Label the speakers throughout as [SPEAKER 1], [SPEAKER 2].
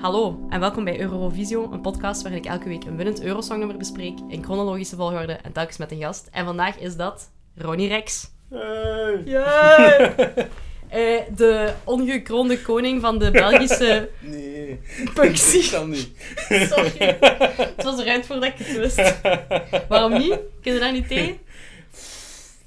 [SPEAKER 1] Hallo en welkom bij Eurovisio, een podcast waarin ik elke week een winnend Eurosongnummer bespreek in chronologische volgorde en telkens met een gast. En vandaag is dat Ronnie Rex.
[SPEAKER 2] Hey.
[SPEAKER 1] Yeah. de ongekroonde koning van de Belgische
[SPEAKER 2] Nee,
[SPEAKER 1] punctie.
[SPEAKER 2] ik kan niet.
[SPEAKER 1] Sorry. Het was eruit voordat ik het wist. Waarom niet? Kun je daar niet tegen?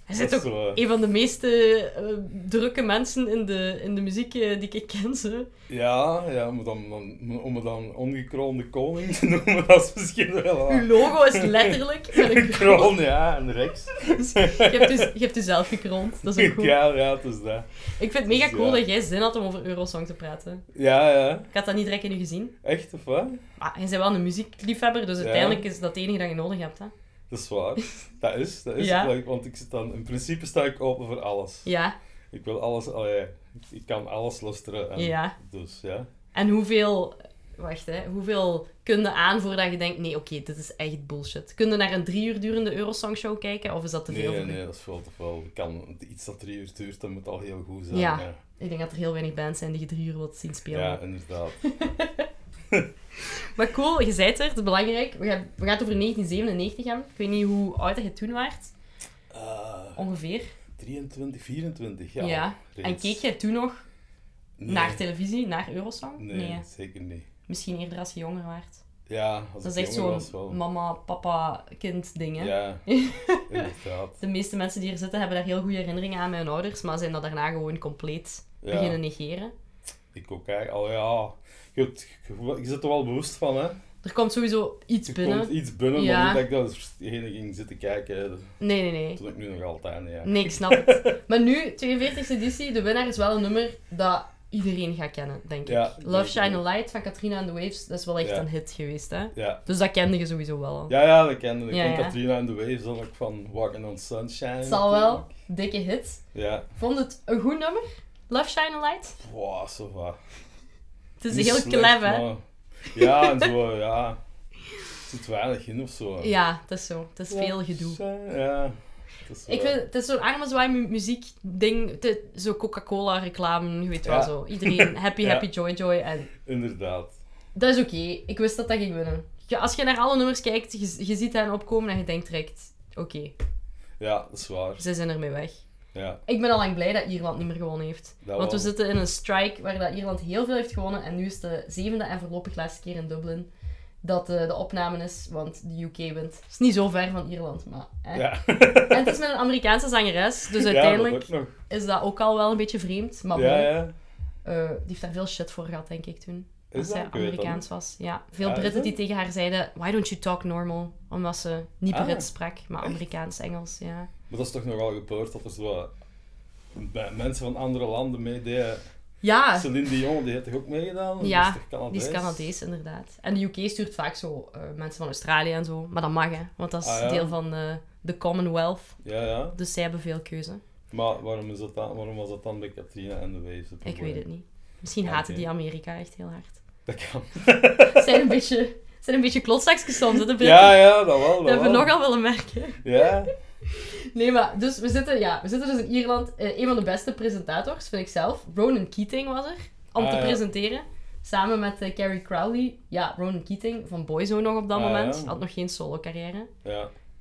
[SPEAKER 1] Hij zit
[SPEAKER 2] Dat is
[SPEAKER 1] ook
[SPEAKER 2] wel-
[SPEAKER 1] een van de meeste eh, drukke mensen in de, in de muziek eh, die ik ken. Ze.
[SPEAKER 2] Ja, ja maar dan, dan, om het dan ongekroonde koning te noemen, dat is misschien wel
[SPEAKER 1] Uw
[SPEAKER 2] waar.
[SPEAKER 1] logo is letterlijk met een kroon.
[SPEAKER 2] Oh. Kroon, ja, en rechts.
[SPEAKER 1] Dus je, hebt dus, je hebt jezelf gekroond. Dat is ook goed.
[SPEAKER 2] Ja, ja, het is dat.
[SPEAKER 1] Ik vind het mega
[SPEAKER 2] Dus
[SPEAKER 1] cool
[SPEAKER 2] ja.
[SPEAKER 1] dat jij zin had om over Eurosong te praten.
[SPEAKER 2] Ja, ja.
[SPEAKER 1] Ik had dat niet direct in je gezien.
[SPEAKER 2] Echt, of wat?
[SPEAKER 1] Maar je bent wel een muziekliefhebber, dus uiteindelijk is dat het enige dat je nodig hebt. Hè?
[SPEAKER 2] Dat is waar. Dat is, dat is.
[SPEAKER 1] Ja.
[SPEAKER 2] Want ik- Want ik zit dan, in principe sta ik open voor alles.
[SPEAKER 1] Ja,
[SPEAKER 2] Ik wil alles, allee, ik- ik kan alles lusteren. En,
[SPEAKER 1] ja.
[SPEAKER 2] Dus, ja.
[SPEAKER 1] En hoeveel... Wacht, hè. Hoeveel kun je aan voordat je denkt... Nee, oké, dit is echt bullshit. Kun je naar een drie uur durende Eurosong-show kijken? Of is dat te
[SPEAKER 2] Nee,
[SPEAKER 1] veel
[SPEAKER 2] nee,
[SPEAKER 1] voor u?
[SPEAKER 2] nee, dat is veel te veel. Ik Kan, iets dat drie uur duurt, dat moet al heel goed zijn.
[SPEAKER 1] Ja.
[SPEAKER 2] ja.
[SPEAKER 1] Ik denk dat er heel weinig bands zijn die je drie uur wilt zien spelen.
[SPEAKER 2] ja inderdaad.
[SPEAKER 1] Maar cool, je zei het er. Het is belangrijk. We gaan, we gaan het over 1997 hebben. Ik weet niet hoe oud dat je toen waart.
[SPEAKER 2] Ah.
[SPEAKER 1] Ongeveer.
[SPEAKER 2] 23, 24
[SPEAKER 1] Ja.
[SPEAKER 2] jaar.
[SPEAKER 1] En keek jij toen nog
[SPEAKER 2] Nee.
[SPEAKER 1] naar televisie, naar Eurosong?
[SPEAKER 2] Nee, zeker niet.
[SPEAKER 1] Misschien eerder als je jonger werd.
[SPEAKER 2] Ja, als
[SPEAKER 1] Dat
[SPEAKER 2] ik
[SPEAKER 1] is echt
[SPEAKER 2] jonger was wel.
[SPEAKER 1] zo'n mama, papa, kind ding, hè?
[SPEAKER 2] Ja, inderdaad.
[SPEAKER 1] De meeste mensen die hier zitten hebben daar heel goede herinneringen aan met hun ouders, maar zijn dat daarna gewoon compleet
[SPEAKER 2] Ja.
[SPEAKER 1] beginnen negeren.
[SPEAKER 2] Ik ook eigenlijk. Al ja, je, hebt- je, je zit er wel bewust van, hè.
[SPEAKER 1] Er komt sowieso iets
[SPEAKER 2] Er
[SPEAKER 1] binnen.
[SPEAKER 2] komt iets binnen,
[SPEAKER 1] Ja.
[SPEAKER 2] maar niet dat ik dat degene ging zitten kijken. hè. Dat
[SPEAKER 1] Nee, nee, nee.
[SPEAKER 2] doe ik nu nog altijd, ja.
[SPEAKER 1] Nee, ik snap het. Maar nu, 42e editie, de winnaar is wel een nummer dat iedereen gaat kennen, denk ik.
[SPEAKER 2] Ja, ik
[SPEAKER 1] Love
[SPEAKER 2] denk
[SPEAKER 1] Shine
[SPEAKER 2] het.
[SPEAKER 1] a Light van Katrina and the Waves, dat is wel echt
[SPEAKER 2] Ja.
[SPEAKER 1] een hit geweest, hè?
[SPEAKER 2] Ja.
[SPEAKER 1] Dus dat kende je sowieso wel al.
[SPEAKER 2] Ja, ja, dat kende ik.
[SPEAKER 1] Ja,
[SPEAKER 2] van
[SPEAKER 1] ja.
[SPEAKER 2] Katrina en de Waves dan ook van Walking on Sunshine.
[SPEAKER 1] Het zal wel, dikke hit.
[SPEAKER 2] Ja.
[SPEAKER 1] Vond het een goed nummer? Love Shine a Light?
[SPEAKER 2] Wow, zo wat.
[SPEAKER 1] Het is heel klef, hè?
[SPEAKER 2] Ja, en zo, ja. Er zit weinig in of zo. hè.
[SPEAKER 1] Ja, het is zo. Het is veel gedoe.
[SPEAKER 2] eh, Ja, dat is
[SPEAKER 1] Ik
[SPEAKER 2] wel-
[SPEAKER 1] vind, het is zo'n arme zwaai mu- muziek ding. Het is Zo Coca-Cola reclame, je weet
[SPEAKER 2] Ja.
[SPEAKER 1] wel zo. Iedereen happy,
[SPEAKER 2] Ja.
[SPEAKER 1] happy, joy, joy. En
[SPEAKER 2] Inderdaad.
[SPEAKER 1] dat is oké. Ik wist dat dat ging winnen. Je- als je naar alle nummers kijkt, je, je ziet hen opkomen en je denkt direct... Oké,
[SPEAKER 2] Ja, dat is waar.
[SPEAKER 1] ze zijn ermee weg.
[SPEAKER 2] Ja,
[SPEAKER 1] Ik ben al lang blij dat Ierland niet meer gewonnen heeft.
[SPEAKER 2] Dat
[SPEAKER 1] Want we
[SPEAKER 2] wel.
[SPEAKER 1] zitten in een strike waar dat Ierland heel veel heeft gewonnen. En nu is de zevende en voorlopig laatste keer in Dublin dat eh, de opname is. Want de UK wint. Het is niet zo ver van Ierland, maar... Hè.
[SPEAKER 2] ja.
[SPEAKER 1] En het is met een Amerikaanse zangeres. Dus
[SPEAKER 2] Ja,
[SPEAKER 1] uiteindelijk
[SPEAKER 2] dat ook nog.
[SPEAKER 1] is dat ook al wel een beetje vreemd. Maar
[SPEAKER 2] Ja,
[SPEAKER 1] bon,
[SPEAKER 2] ja.
[SPEAKER 1] eh, die heeft daar veel shit voor gehad, denk ik, toen.
[SPEAKER 2] Is
[SPEAKER 1] als
[SPEAKER 2] dat?
[SPEAKER 1] zij
[SPEAKER 2] Ik weet dat
[SPEAKER 1] Amerikaans was. Ja, veel
[SPEAKER 2] Ah, is
[SPEAKER 1] Britten
[SPEAKER 2] dat?
[SPEAKER 1] die tegen haar zeiden... Why don't you talk normal? Omdat ze niet
[SPEAKER 2] Ah,
[SPEAKER 1] Brits sprak, maar
[SPEAKER 2] echt?
[SPEAKER 1] Amerikaans-Engels, ja.
[SPEAKER 2] Maar dat is toch nogal gebeurd dat er zo wat bij mensen van andere landen meededen.
[SPEAKER 1] Ja,
[SPEAKER 2] Celine Dion, die heeft toch ook meegedaan?
[SPEAKER 1] Ah. Ja,
[SPEAKER 2] die is toch Canadees?
[SPEAKER 1] die is Canadees, inderdaad. En de UK stuurt vaak zo eh, mensen van Australië en zo. Maar dat mag, hè. Want dat is
[SPEAKER 2] Ah, ja.
[SPEAKER 1] deel van eh, de Commonwealth.
[SPEAKER 2] Ja, ja.
[SPEAKER 1] Dus zij hebben veel keuze.
[SPEAKER 2] Maar waarom, is dat dan, waarom was dat dan bij Katrina en de Waves? het
[SPEAKER 1] Ik
[SPEAKER 2] probleem?
[SPEAKER 1] weet het niet. Misschien
[SPEAKER 2] Ah,
[SPEAKER 1] haten
[SPEAKER 2] oké.
[SPEAKER 1] die Amerika echt heel hard.
[SPEAKER 2] Dat kan.
[SPEAKER 1] Ze zijn een beetje, zijn een beetje klotzaksjes soms, hè, de Britten.
[SPEAKER 2] Ja, ja, dat wel. Dat,
[SPEAKER 1] dat hebben we
[SPEAKER 2] wel.
[SPEAKER 1] nogal willen merken.
[SPEAKER 2] Ja,
[SPEAKER 1] Nee, maar dus we zitten, ja, we zitten dus in Ierland. Eh, een van de beste presentators, vind ik zelf. Ronan Keating was er, om
[SPEAKER 2] Ah,
[SPEAKER 1] te
[SPEAKER 2] ja.
[SPEAKER 1] presenteren. Samen met eh, Carrie Crowley. Ja, Ronan Keating, van Boyzone nog op dat
[SPEAKER 2] Ah,
[SPEAKER 1] moment.
[SPEAKER 2] ja.
[SPEAKER 1] Had nog geen solo-carrière.
[SPEAKER 2] ja.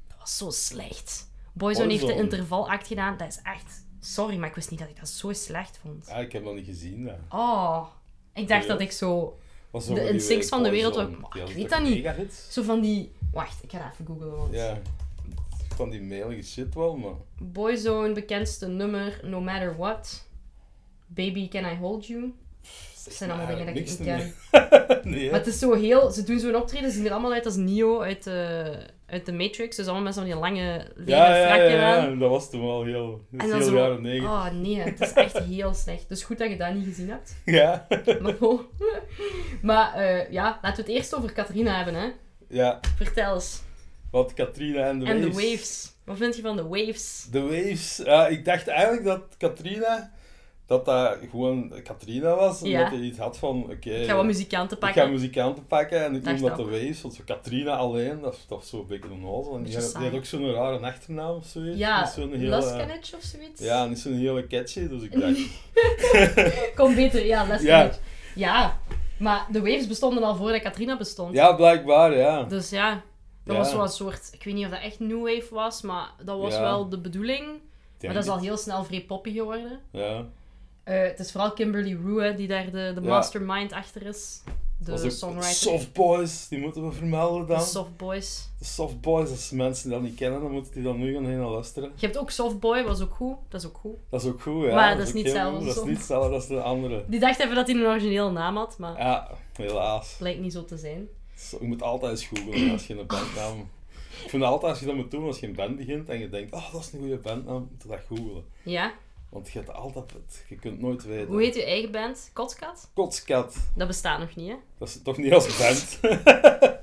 [SPEAKER 1] Dat was zo slecht. Boyzone heeft de
[SPEAKER 2] Boyzone.
[SPEAKER 1] intervalact gedaan. Dat is echt... Sorry, maar ik wist niet dat ik dat zo slecht vond.
[SPEAKER 2] Ah, ik heb dat niet gezien. Ja.
[SPEAKER 1] Oh, ik dacht
[SPEAKER 2] Ja.
[SPEAKER 1] dat ik zo...
[SPEAKER 2] Was
[SPEAKER 1] De
[SPEAKER 2] in
[SPEAKER 1] instincts van de wereld ook- ik weet dat niet.
[SPEAKER 2] Mega hits?
[SPEAKER 1] Zo van die... Wacht, ik ga dat even googlen, want...
[SPEAKER 2] Ja. Van die melige shit wel, maar...
[SPEAKER 1] Boyzone, bekendste nummer, No Matter What. Baby, Can I Hold You? Dat zijn allemaal dingen dat ik
[SPEAKER 2] niks
[SPEAKER 1] niet
[SPEAKER 2] te
[SPEAKER 1] ken.
[SPEAKER 2] meer. nee, hè?
[SPEAKER 1] Maar het is zo heel... Ze doen zo'n optreden, ze zien er allemaal uit als Neo uit de, uit de Matrix. Dus allemaal met zo'n die lange, leren
[SPEAKER 2] Ja, ja, ja,
[SPEAKER 1] frakken
[SPEAKER 2] ja,
[SPEAKER 1] aan.
[SPEAKER 2] dat was toen wel heel, dat
[SPEAKER 1] En
[SPEAKER 2] is
[SPEAKER 1] dan
[SPEAKER 2] heel
[SPEAKER 1] zo...
[SPEAKER 2] jaren negentig.
[SPEAKER 1] Oh nee, het is echt heel slecht. Dus goed dat je dat niet gezien hebt.
[SPEAKER 2] Ja.
[SPEAKER 1] Maar, bon. maar eh, ja, laten we het eerst over Catharina hebben, hè.
[SPEAKER 2] ja,
[SPEAKER 1] Vertel eens.
[SPEAKER 2] want Katrina en de
[SPEAKER 1] en de
[SPEAKER 2] Waves.
[SPEAKER 1] waves. Wat vind je van de waves?
[SPEAKER 2] De Waves. Ja, ik dacht eigenlijk dat Katrina, dat dat gewoon Katrina was. En
[SPEAKER 1] Ja.
[SPEAKER 2] dat hij iets had van, oké,
[SPEAKER 1] Ik ga wat muzikanten
[SPEAKER 2] Eh, ik
[SPEAKER 1] pakken.
[SPEAKER 2] ga muzikanten pakken. En ik
[SPEAKER 1] Dacht
[SPEAKER 2] noem dat de
[SPEAKER 1] ook.
[SPEAKER 2] Waves, want zo Katrina alleen, dat is toch zo'n beetje onnozel. En die
[SPEAKER 1] Beetje
[SPEAKER 2] had, die
[SPEAKER 1] saai.
[SPEAKER 2] had ook zo'n rare achternaam of zoiets.
[SPEAKER 1] ja,
[SPEAKER 2] Niet zo'n hele-
[SPEAKER 1] Laskanic of zoiets?
[SPEAKER 2] eh, Ja, niet zo'n hele catchy, dus ik dacht...
[SPEAKER 1] Kom beter, ja, Laskanic. Ja. Maar de waves bestonden al voordat Katrina bestond.
[SPEAKER 2] Ja, blijkbaar, ja.
[SPEAKER 1] Dus ja, dat
[SPEAKER 2] Ja.
[SPEAKER 1] was zo'n soort... Ik weet niet of dat echt New Wave was, maar dat was
[SPEAKER 2] Ja.
[SPEAKER 1] wel de bedoeling. Maar
[SPEAKER 2] Denk
[SPEAKER 1] dat is
[SPEAKER 2] ik.
[SPEAKER 1] al heel snel vrij poppy geworden.
[SPEAKER 2] Ja.
[SPEAKER 1] Eh, het is vooral Kimberly Rue hè, die daar de, de
[SPEAKER 2] Ja.
[SPEAKER 1] mastermind achter is. De
[SPEAKER 2] Was ook
[SPEAKER 1] songwriter.
[SPEAKER 2] Soft Boys, die moeten we vermelden
[SPEAKER 1] De
[SPEAKER 2] dan.
[SPEAKER 1] Soft Boys.
[SPEAKER 2] De Soft Boys, als mensen die dat niet kennen, dan moeten die dan nu gaan heen luisteren.
[SPEAKER 1] Je hebt ook Softboy, was ook goed. Dat is ook goed.
[SPEAKER 2] Dat is ook goed, ja.
[SPEAKER 1] Maar dat
[SPEAKER 2] is
[SPEAKER 1] is niet
[SPEAKER 2] ook heel
[SPEAKER 1] hetzelfde
[SPEAKER 2] goed. Dat is
[SPEAKER 1] song.
[SPEAKER 2] niet hetzelfde als de andere.
[SPEAKER 1] Die dacht even dat hij een originele naam had, maar het
[SPEAKER 2] Ja, helaas.
[SPEAKER 1] blijkt niet zo te zijn.
[SPEAKER 2] Zo, Je moet altijd eens googlen als je een bandnaam... Ik vind altijd, als je dat moet doen, als je een band begint en je denkt, oh, dat is een goede bandnaam, moet je dat googlen.
[SPEAKER 1] Ja?
[SPEAKER 2] Want je hebt altijd het, je kunt nooit weten.
[SPEAKER 1] Hoe heet je eigen band? Kotskat?
[SPEAKER 2] Kotskat.
[SPEAKER 1] Dat bestaat nog niet, hè?
[SPEAKER 2] Dat is toch niet als band?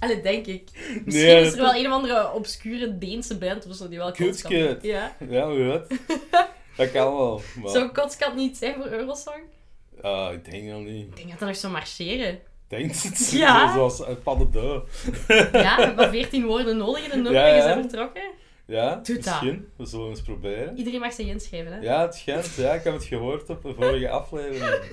[SPEAKER 1] Allee, denk ik. Misschien
[SPEAKER 2] Nee,
[SPEAKER 1] is er wel een of andere obscure Deense band of zo die wel Kotskat
[SPEAKER 2] Kutskut.
[SPEAKER 1] Ja.
[SPEAKER 2] Ja, wie weet. Dat kan wel. Maar,
[SPEAKER 1] Zou Kotskat niet zijn voor Eurosong?
[SPEAKER 2] eh, ik denk dat niet.
[SPEAKER 1] Ik denk dat dat nog zou marcheren.
[SPEAKER 2] denk het.
[SPEAKER 1] Ja.
[SPEAKER 2] Zoals eh, pas de deur.
[SPEAKER 1] Ja, met maar 14 woorden nodig in een nummer
[SPEAKER 2] Ja,
[SPEAKER 1] en je
[SPEAKER 2] ja.
[SPEAKER 1] bent vertrokken.
[SPEAKER 2] Ja,
[SPEAKER 1] Doe dat.
[SPEAKER 2] misschien. We zullen eens proberen.
[SPEAKER 1] Iedereen mag zich inschrijven, hè?
[SPEAKER 2] Ja, het schijnt. Ja, ik heb het gehoord op de vorige aflevering.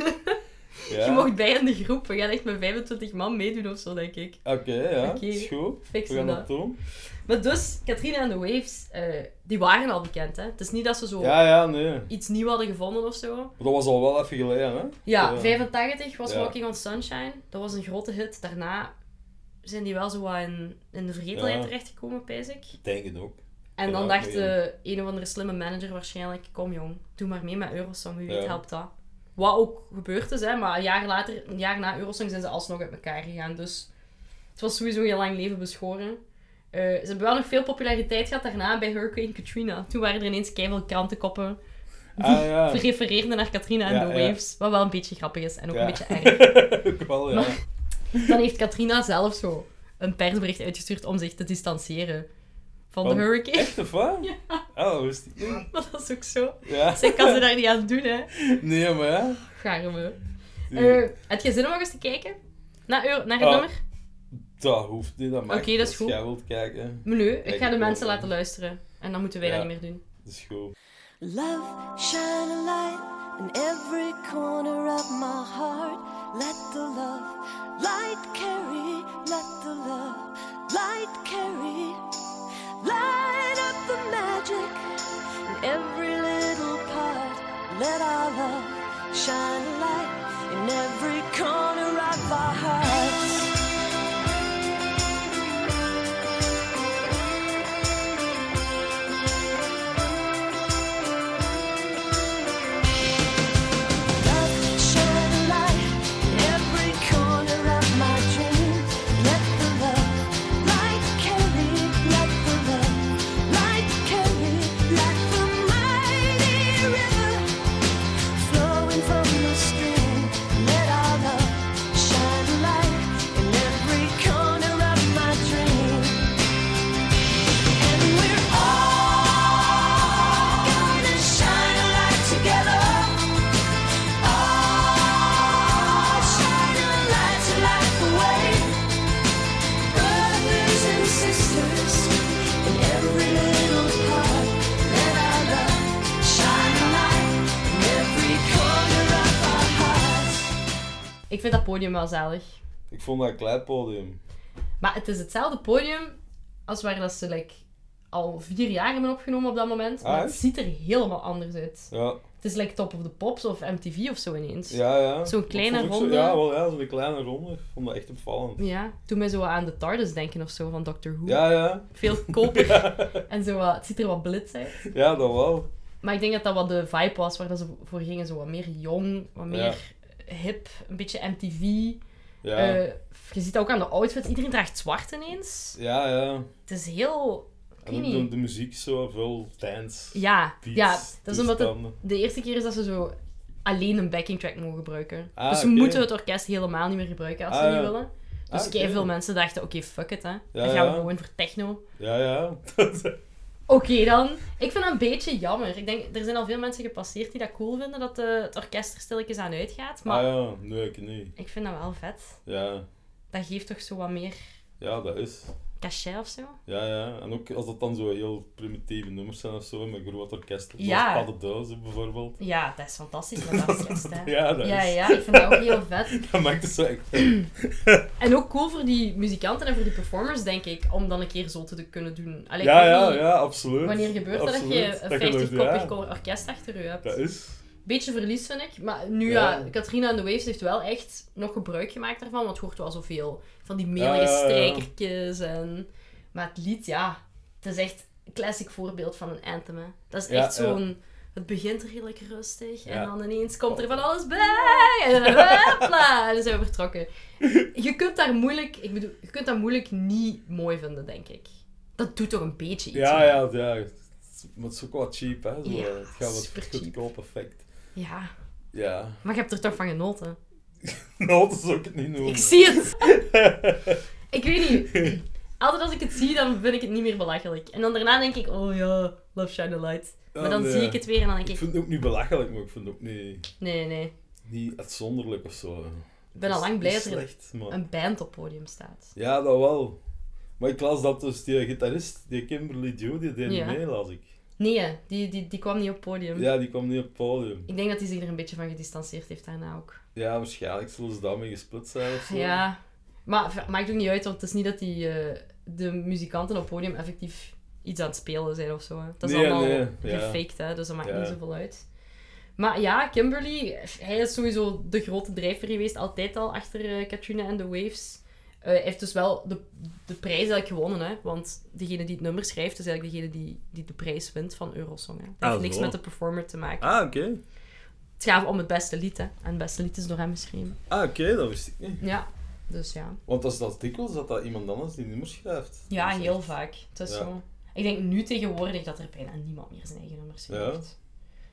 [SPEAKER 2] Ja.
[SPEAKER 1] Je mocht bij in de groep. We gaan echt met 25 man meedoen of zo, denk ik.
[SPEAKER 2] Oké, ja.
[SPEAKER 1] Oké.
[SPEAKER 2] Is goed. We
[SPEAKER 1] Fixen
[SPEAKER 2] gaan
[SPEAKER 1] dat.
[SPEAKER 2] dat doen.
[SPEAKER 1] Maar dus, Katrina en de Waves, eh, die waren al bekend, hè? Het is niet dat ze zo
[SPEAKER 2] Ja, ja, nee. Maar
[SPEAKER 1] iets nieuw hadden gevonden of zo.
[SPEAKER 2] dat was al wel even geleden, hè?
[SPEAKER 1] Ja,
[SPEAKER 2] Ja.
[SPEAKER 1] 85 was
[SPEAKER 2] Ja.
[SPEAKER 1] Walking on Sunshine. Dat was een grote hit. Daarna zijn die wel zo wat in, in de vergetelheid
[SPEAKER 2] Ja.
[SPEAKER 1] terechtgekomen, pijs ik.
[SPEAKER 2] Ik denk het ook.
[SPEAKER 1] En dan
[SPEAKER 2] Ja,
[SPEAKER 1] dacht
[SPEAKER 2] nee.
[SPEAKER 1] de een of andere slimme manager waarschijnlijk, kom jong, doe maar mee met Eurosong, wie weet
[SPEAKER 2] Ja.
[SPEAKER 1] helpt dat. Wat ook gebeurd is, hè, maar een jaar later, een jaar na Eurosong zijn ze alsnog uit elkaar gegaan. Dus het was sowieso heel lang leven beschoren. Eh, ze hebben wel nog veel populariteit gehad daarna bij Hurricane Katrina. Toen waren er ineens keiveel krantenkoppen
[SPEAKER 2] Ah ja.
[SPEAKER 1] die refereerden naar Katrina en
[SPEAKER 2] Ja,
[SPEAKER 1] de
[SPEAKER 2] ja.
[SPEAKER 1] Waves. Wat wel een beetje grappig is en ook
[SPEAKER 2] Ja.
[SPEAKER 1] een beetje erg.
[SPEAKER 2] ook wel, ja.
[SPEAKER 1] Maar- Dan heeft Katrina zelf zo een persbericht uitgestuurd om zich te distancieren van,
[SPEAKER 2] Van-
[SPEAKER 1] de Hurricane.
[SPEAKER 2] Echt of wat?
[SPEAKER 1] Ja.
[SPEAKER 2] Oh, wist ik niet.
[SPEAKER 1] Maar dat is ook zo.
[SPEAKER 2] Ja.
[SPEAKER 1] Zij kan ze daar niet aan doen, hè.
[SPEAKER 2] Nee, maar ja.
[SPEAKER 1] Garme.
[SPEAKER 2] Die-
[SPEAKER 1] Eh heb je zin om nog eens te kijken? Naar, eu- naar het
[SPEAKER 2] Ah.
[SPEAKER 1] nummer?
[SPEAKER 2] Dat hoeft niet, dat mag.
[SPEAKER 1] Oké, dat is
[SPEAKER 2] Als
[SPEAKER 1] goed.
[SPEAKER 2] jij wilt kijken,
[SPEAKER 1] Maar nu, ik
[SPEAKER 2] Kijk,
[SPEAKER 1] ga de
[SPEAKER 2] ik
[SPEAKER 1] mensen
[SPEAKER 2] wil-
[SPEAKER 1] laten luisteren. En dan moeten wij
[SPEAKER 2] Ja.
[SPEAKER 1] dat niet meer doen.
[SPEAKER 2] dat is goed.
[SPEAKER 3] Love, shine a light in every corner of my heart. Let the love light carry, let the love light carry. Light up the magic in every little part. Let our love shine a light in every corner of our hearts. Love, shine a light in every corner of my dreams. Let the love light carry, let the love light carry, like the mighty river flowing from the stream. Let our love shine a light in every corner of my dream. And we're all gonna shine a light together.
[SPEAKER 1] Ik vind dat podium wel zalig.
[SPEAKER 2] Ik vond dat een klein podium.
[SPEAKER 1] Maar het is hetzelfde podium als waar dat ze like, al vier jaar hebben opgenomen op dat moment. Maar
[SPEAKER 2] Ah,
[SPEAKER 1] het
[SPEAKER 2] echt?
[SPEAKER 1] ziet er helemaal anders uit.
[SPEAKER 2] Ja,
[SPEAKER 1] Het is like Top of the Pops of MTV of zo ineens.
[SPEAKER 2] ja, ja.
[SPEAKER 1] Zo'n
[SPEAKER 2] Dat
[SPEAKER 1] kleine
[SPEAKER 2] vond ik
[SPEAKER 1] ronde.
[SPEAKER 2] Zo, ja, wel, ja, zo'n kleine ronde. Ik vond dat echt opvallend.
[SPEAKER 1] Ja, toen mij zo wat aan de TARDIS denken of zo van Doctor Who.
[SPEAKER 2] Ja, ja.
[SPEAKER 1] Veel koper en zo wat, het ziet er wat blitz uit.
[SPEAKER 2] Ja, dat wel.
[SPEAKER 1] Maar ik denk dat dat wat de vibe was waar dat ze voor gingen. Zo wat meer jong, wat meer hip, een beetje MTV.
[SPEAKER 2] Ja,
[SPEAKER 1] Eh, je ziet dat ook aan de outfits. Iedereen draagt zwart ineens.
[SPEAKER 2] ja. ja.
[SPEAKER 1] Het is heel... Ik weet
[SPEAKER 2] En ook de,
[SPEAKER 1] niet.
[SPEAKER 2] de muziek is zo veel dance.
[SPEAKER 1] Ja,
[SPEAKER 2] beats, dus
[SPEAKER 1] ja, dat is omdat het
[SPEAKER 2] toestanden.
[SPEAKER 1] de eerste keer is dat ze zo alleen een backing track mogen gebruiken.
[SPEAKER 2] Ah,
[SPEAKER 1] dus ze
[SPEAKER 2] oké.
[SPEAKER 1] moeten het orkest helemaal niet meer gebruiken als ze
[SPEAKER 2] Ah,
[SPEAKER 1] niet
[SPEAKER 2] ja.
[SPEAKER 1] willen. Dus
[SPEAKER 2] Ah, oké.
[SPEAKER 1] veel mensen dachten, oké, fuck it, hè. Dan
[SPEAKER 2] Ja,
[SPEAKER 1] gaan we
[SPEAKER 2] ja.
[SPEAKER 1] gewoon voor techno.
[SPEAKER 2] Ja, ja.
[SPEAKER 1] Oké dan. Ik vind dat een beetje jammer. Ik denk, er zijn al veel mensen gepasseerd die dat cool vinden dat eh, het orkest er stilletjes aan uitgaat. Maar
[SPEAKER 2] Ah ja, nee, ik niet.
[SPEAKER 1] ik vind dat wel vet.
[SPEAKER 2] Ja,
[SPEAKER 1] Dat geeft toch zo wat meer
[SPEAKER 2] ja dat is.
[SPEAKER 1] cachet of zo.
[SPEAKER 2] Ja, ja. En ook als dat dan zo heel primitieve nummers zijn of zo, met groot orkest.
[SPEAKER 1] Ja.
[SPEAKER 2] Zoals Pas de Duizen bijvoorbeeld.
[SPEAKER 1] Ja, dat is fantastisch met dat orkest, hè.
[SPEAKER 2] Ja, dat
[SPEAKER 1] Ja,
[SPEAKER 2] is-
[SPEAKER 1] ja, ik vind dat ook heel vet.
[SPEAKER 2] Dat maakt het zo echt...
[SPEAKER 1] En ook cool voor die muzikanten en voor die performers, denk ik, om dan een keer zo te kunnen doen. Allee, ik
[SPEAKER 2] Ja,
[SPEAKER 1] weet
[SPEAKER 2] ja,
[SPEAKER 1] niet,
[SPEAKER 2] ja, absoluut.
[SPEAKER 1] Wanneer gebeurt dat dat
[SPEAKER 2] Absoluut.
[SPEAKER 1] je een
[SPEAKER 2] Dat geloof-
[SPEAKER 1] 50-koppig
[SPEAKER 2] ja.
[SPEAKER 1] koor- orkest achter je hebt?
[SPEAKER 2] Dat is...
[SPEAKER 1] Beetje verlies, vind ik. Maar nu, ja,
[SPEAKER 2] Ja.
[SPEAKER 1] Katrina en de Waves heeft wel echt nog gebruik gemaakt daarvan, want het hoort wel zoveel van die melige
[SPEAKER 2] Ja, ja, ja.
[SPEAKER 1] strijkertjes en... Maar het lied, ja, het is echt een classic voorbeeld van een anthem, hè. Dat is
[SPEAKER 2] Ja,
[SPEAKER 1] echt
[SPEAKER 2] ja.
[SPEAKER 1] zo'n... Het begint redelijk rustig en
[SPEAKER 2] Ja. Oh.
[SPEAKER 1] dan ineens komt er van alles bij en dan, hopla, en dan zijn we vertrokken. Je kunt daar moeilijk, ik bedoel, je kunt dat moeilijk niet mooi vinden, denk ik. Dat doet toch een beetje iets.
[SPEAKER 2] Ja,
[SPEAKER 1] hè?
[SPEAKER 2] ja, ja. Maar het is ook wel cheap, hè. Zo,
[SPEAKER 1] Ja,
[SPEAKER 2] het gaat wat
[SPEAKER 1] super
[SPEAKER 2] goedkoop effect.
[SPEAKER 1] Ja,
[SPEAKER 2] Ja.
[SPEAKER 1] maar je hebt er toch van genoten.
[SPEAKER 2] Nou, dat zou ik het niet noemen.
[SPEAKER 1] Ik zie het. ik weet niet. Altijd als ik het zie, dan vind ik het niet meer belachelijk. En dan daarna denk ik, oh ja, Love Shine a Light. Maar
[SPEAKER 2] Ja,
[SPEAKER 1] dan
[SPEAKER 2] Oh, nee.
[SPEAKER 1] zie ik het weer en dan denk
[SPEAKER 2] Ik
[SPEAKER 1] ik,
[SPEAKER 2] vind het ook niet belachelijk, maar ik vind het ook niet,
[SPEAKER 1] nee, nee.
[SPEAKER 2] niet uitzonderlijk of zo.
[SPEAKER 1] Ik ben al lang blij dat er
[SPEAKER 2] slecht, maar...
[SPEAKER 1] een band op het podium staat.
[SPEAKER 2] Ja, dat wel. Maar ik las dat dus die gitarist, die Kimberly Joe, die deed
[SPEAKER 1] Ja. Hm.
[SPEAKER 2] niet mee, las ik.
[SPEAKER 1] Nee, die, die, die kwam niet op het podium.
[SPEAKER 2] Ja, die kwam niet op het podium.
[SPEAKER 1] Ik denk dat hij zich er een beetje van gedistanceerd heeft daarna ook.
[SPEAKER 2] Ja, waarschijnlijk zullen ze daarmee gesplit zijn of zo.
[SPEAKER 1] Ja, maar v- maakt ook niet uit, want het is niet dat die, eh, de muzikanten op het podium effectief iets aan het spelen zijn of zo. Hè. Dat is
[SPEAKER 2] Nee,
[SPEAKER 1] allemaal
[SPEAKER 2] nee, ja.
[SPEAKER 1] gefaked, hè, dus dat maakt
[SPEAKER 2] Ja.
[SPEAKER 1] niet zoveel uit. Maar ja, Kimberly, hij is sowieso de grote drijver geweest, altijd al achter eh, Katrina en The Waves. Eh, Hij heeft dus wel de, de prijs eigenlijk gewonnen, hè? want degene die het nummer schrijft, is eigenlijk degene die, die de prijs wint van Eurosong. Hè? Dat heeft
[SPEAKER 2] Ah,
[SPEAKER 1] niks
[SPEAKER 2] zo.
[SPEAKER 1] met de performer te maken.
[SPEAKER 2] Ah, oké.
[SPEAKER 1] Het gaat om het beste lied, hè? en het beste lied is door hem geschreven.
[SPEAKER 2] Ah, oké, dat wist ik niet.
[SPEAKER 1] Ja, dus ja.
[SPEAKER 2] Want dat is dat dikwijls dat dat iemand anders die nummers schrijft.
[SPEAKER 1] Ja,
[SPEAKER 2] Dat is
[SPEAKER 1] heel
[SPEAKER 2] echt-
[SPEAKER 1] vaak. Het is
[SPEAKER 2] Ja.
[SPEAKER 1] zo. Ik denk nu tegenwoordig dat er bijna niemand meer zijn eigen nummers
[SPEAKER 2] Ja.
[SPEAKER 1] heeft.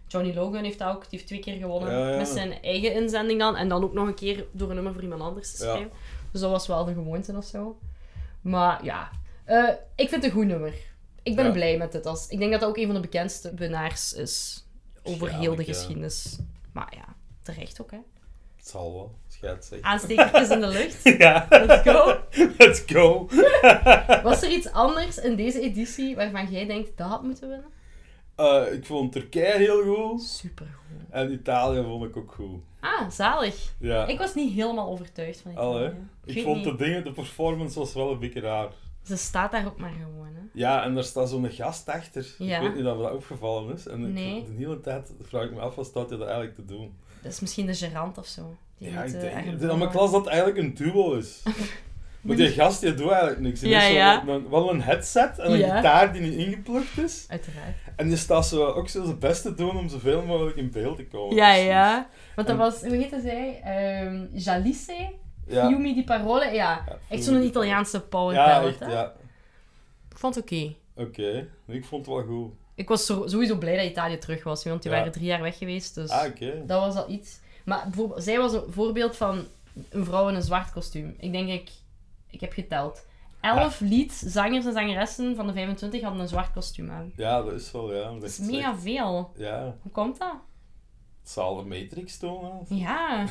[SPEAKER 1] Johnny Logan heeft dat ook, die heeft twee keer gewonnen.
[SPEAKER 2] Ja, ja.
[SPEAKER 1] Met zijn eigen inzending dan. En dan ook nog een keer door een nummer voor iemand anders te
[SPEAKER 2] Ja.
[SPEAKER 1] schrijven. Dus dat was wel de gewoonte of zo. Maar ja, Eh, ik vind het een goed nummer. Ik ben
[SPEAKER 2] Ja.
[SPEAKER 1] blij met dit. Als... Ik denk dat dat ook een van de bekendste winnaars is over heel de
[SPEAKER 2] Waarschijnlijk, ja.
[SPEAKER 1] geschiedenis. Maar ja, terecht ook hè.
[SPEAKER 2] Het zal wel, schijt zeg.
[SPEAKER 1] Aanstekertjes in de lucht.
[SPEAKER 2] Ja,
[SPEAKER 1] Let's go.
[SPEAKER 2] let's go.
[SPEAKER 1] Was er iets anders in deze editie waarvan jij denkt dat had moeten winnen?
[SPEAKER 2] Eh, ik vond Turkije heel goed.
[SPEAKER 1] Supergoed.
[SPEAKER 2] En Italië vond ik ook goed.
[SPEAKER 1] Ah, zalig.
[SPEAKER 2] Ja.
[SPEAKER 1] Ik was niet helemaal overtuigd van Italië.
[SPEAKER 2] Al, hè.
[SPEAKER 1] Ik,
[SPEAKER 2] Ik
[SPEAKER 1] weet
[SPEAKER 2] vond
[SPEAKER 1] niet.
[SPEAKER 2] de dingen, de performance was wel een beetje raar.
[SPEAKER 1] Ze staat daar ook maar gewoon, hè.
[SPEAKER 2] Ja, en daar staat zo'n gast achter.
[SPEAKER 1] Ja.
[SPEAKER 2] Ik weet niet of dat opgevallen is. En ik-
[SPEAKER 1] Nee.
[SPEAKER 2] de hele tijd vraag ik me af, wat staat hij dat eigenlijk te doen?
[SPEAKER 1] Dat is misschien de gerant of zo. Die
[SPEAKER 2] ja,
[SPEAKER 1] moet,
[SPEAKER 2] ik
[SPEAKER 1] eh,
[SPEAKER 2] denk...
[SPEAKER 1] ergens
[SPEAKER 2] het is aan mijn
[SPEAKER 1] wonen.
[SPEAKER 2] klas dat het eigenlijk een duo is. maar die gast, die doet eigenlijk niks. Die
[SPEAKER 1] Ja,
[SPEAKER 2] heeft zo
[SPEAKER 1] ja.
[SPEAKER 2] een- wel een headset en een
[SPEAKER 1] Ja.
[SPEAKER 2] gitaar die niet ingeplukt is.
[SPEAKER 1] Uiteraard.
[SPEAKER 2] En die staat zo, ook zo zijn best te doen om zoveel mogelijk in beeld te komen. Dus-
[SPEAKER 1] Ja,
[SPEAKER 2] Oh, Precies.
[SPEAKER 1] ja. Want dat
[SPEAKER 2] En-
[SPEAKER 1] was, hoe heette zij? Ehm Jalisse?
[SPEAKER 2] Ja.
[SPEAKER 1] Yumi Di Parole? Ja.
[SPEAKER 2] Ja,
[SPEAKER 1] Echt
[SPEAKER 2] Yumi
[SPEAKER 1] zo'n
[SPEAKER 2] Di
[SPEAKER 1] Italiaanse power
[SPEAKER 2] Ja,
[SPEAKER 1] ballad,
[SPEAKER 2] echt,
[SPEAKER 1] hè.
[SPEAKER 2] ja.
[SPEAKER 1] Ik vond het oké.
[SPEAKER 2] Oké. Ik vond het wel goed.
[SPEAKER 1] Ik was zo- sowieso blij dat Italië terug was, want die
[SPEAKER 2] Ja.
[SPEAKER 1] waren drie jaar weg geweest, dus...
[SPEAKER 2] Ah, oké.
[SPEAKER 1] Dat was al iets. Maar bijvoorbeeld- zij was een voorbeeld van een vrouw in een zwart kostuum. Ik denk, ik, ik heb geteld. Elf liedzangers en zangeressen van de 25 hadden een zwart kostuum aan.
[SPEAKER 2] Ja, dat is wel, ja.
[SPEAKER 1] Dat is mega veel.
[SPEAKER 2] Ja,
[SPEAKER 1] Hoe komt dat?
[SPEAKER 2] het zal de Matrix tonen.
[SPEAKER 1] Ja.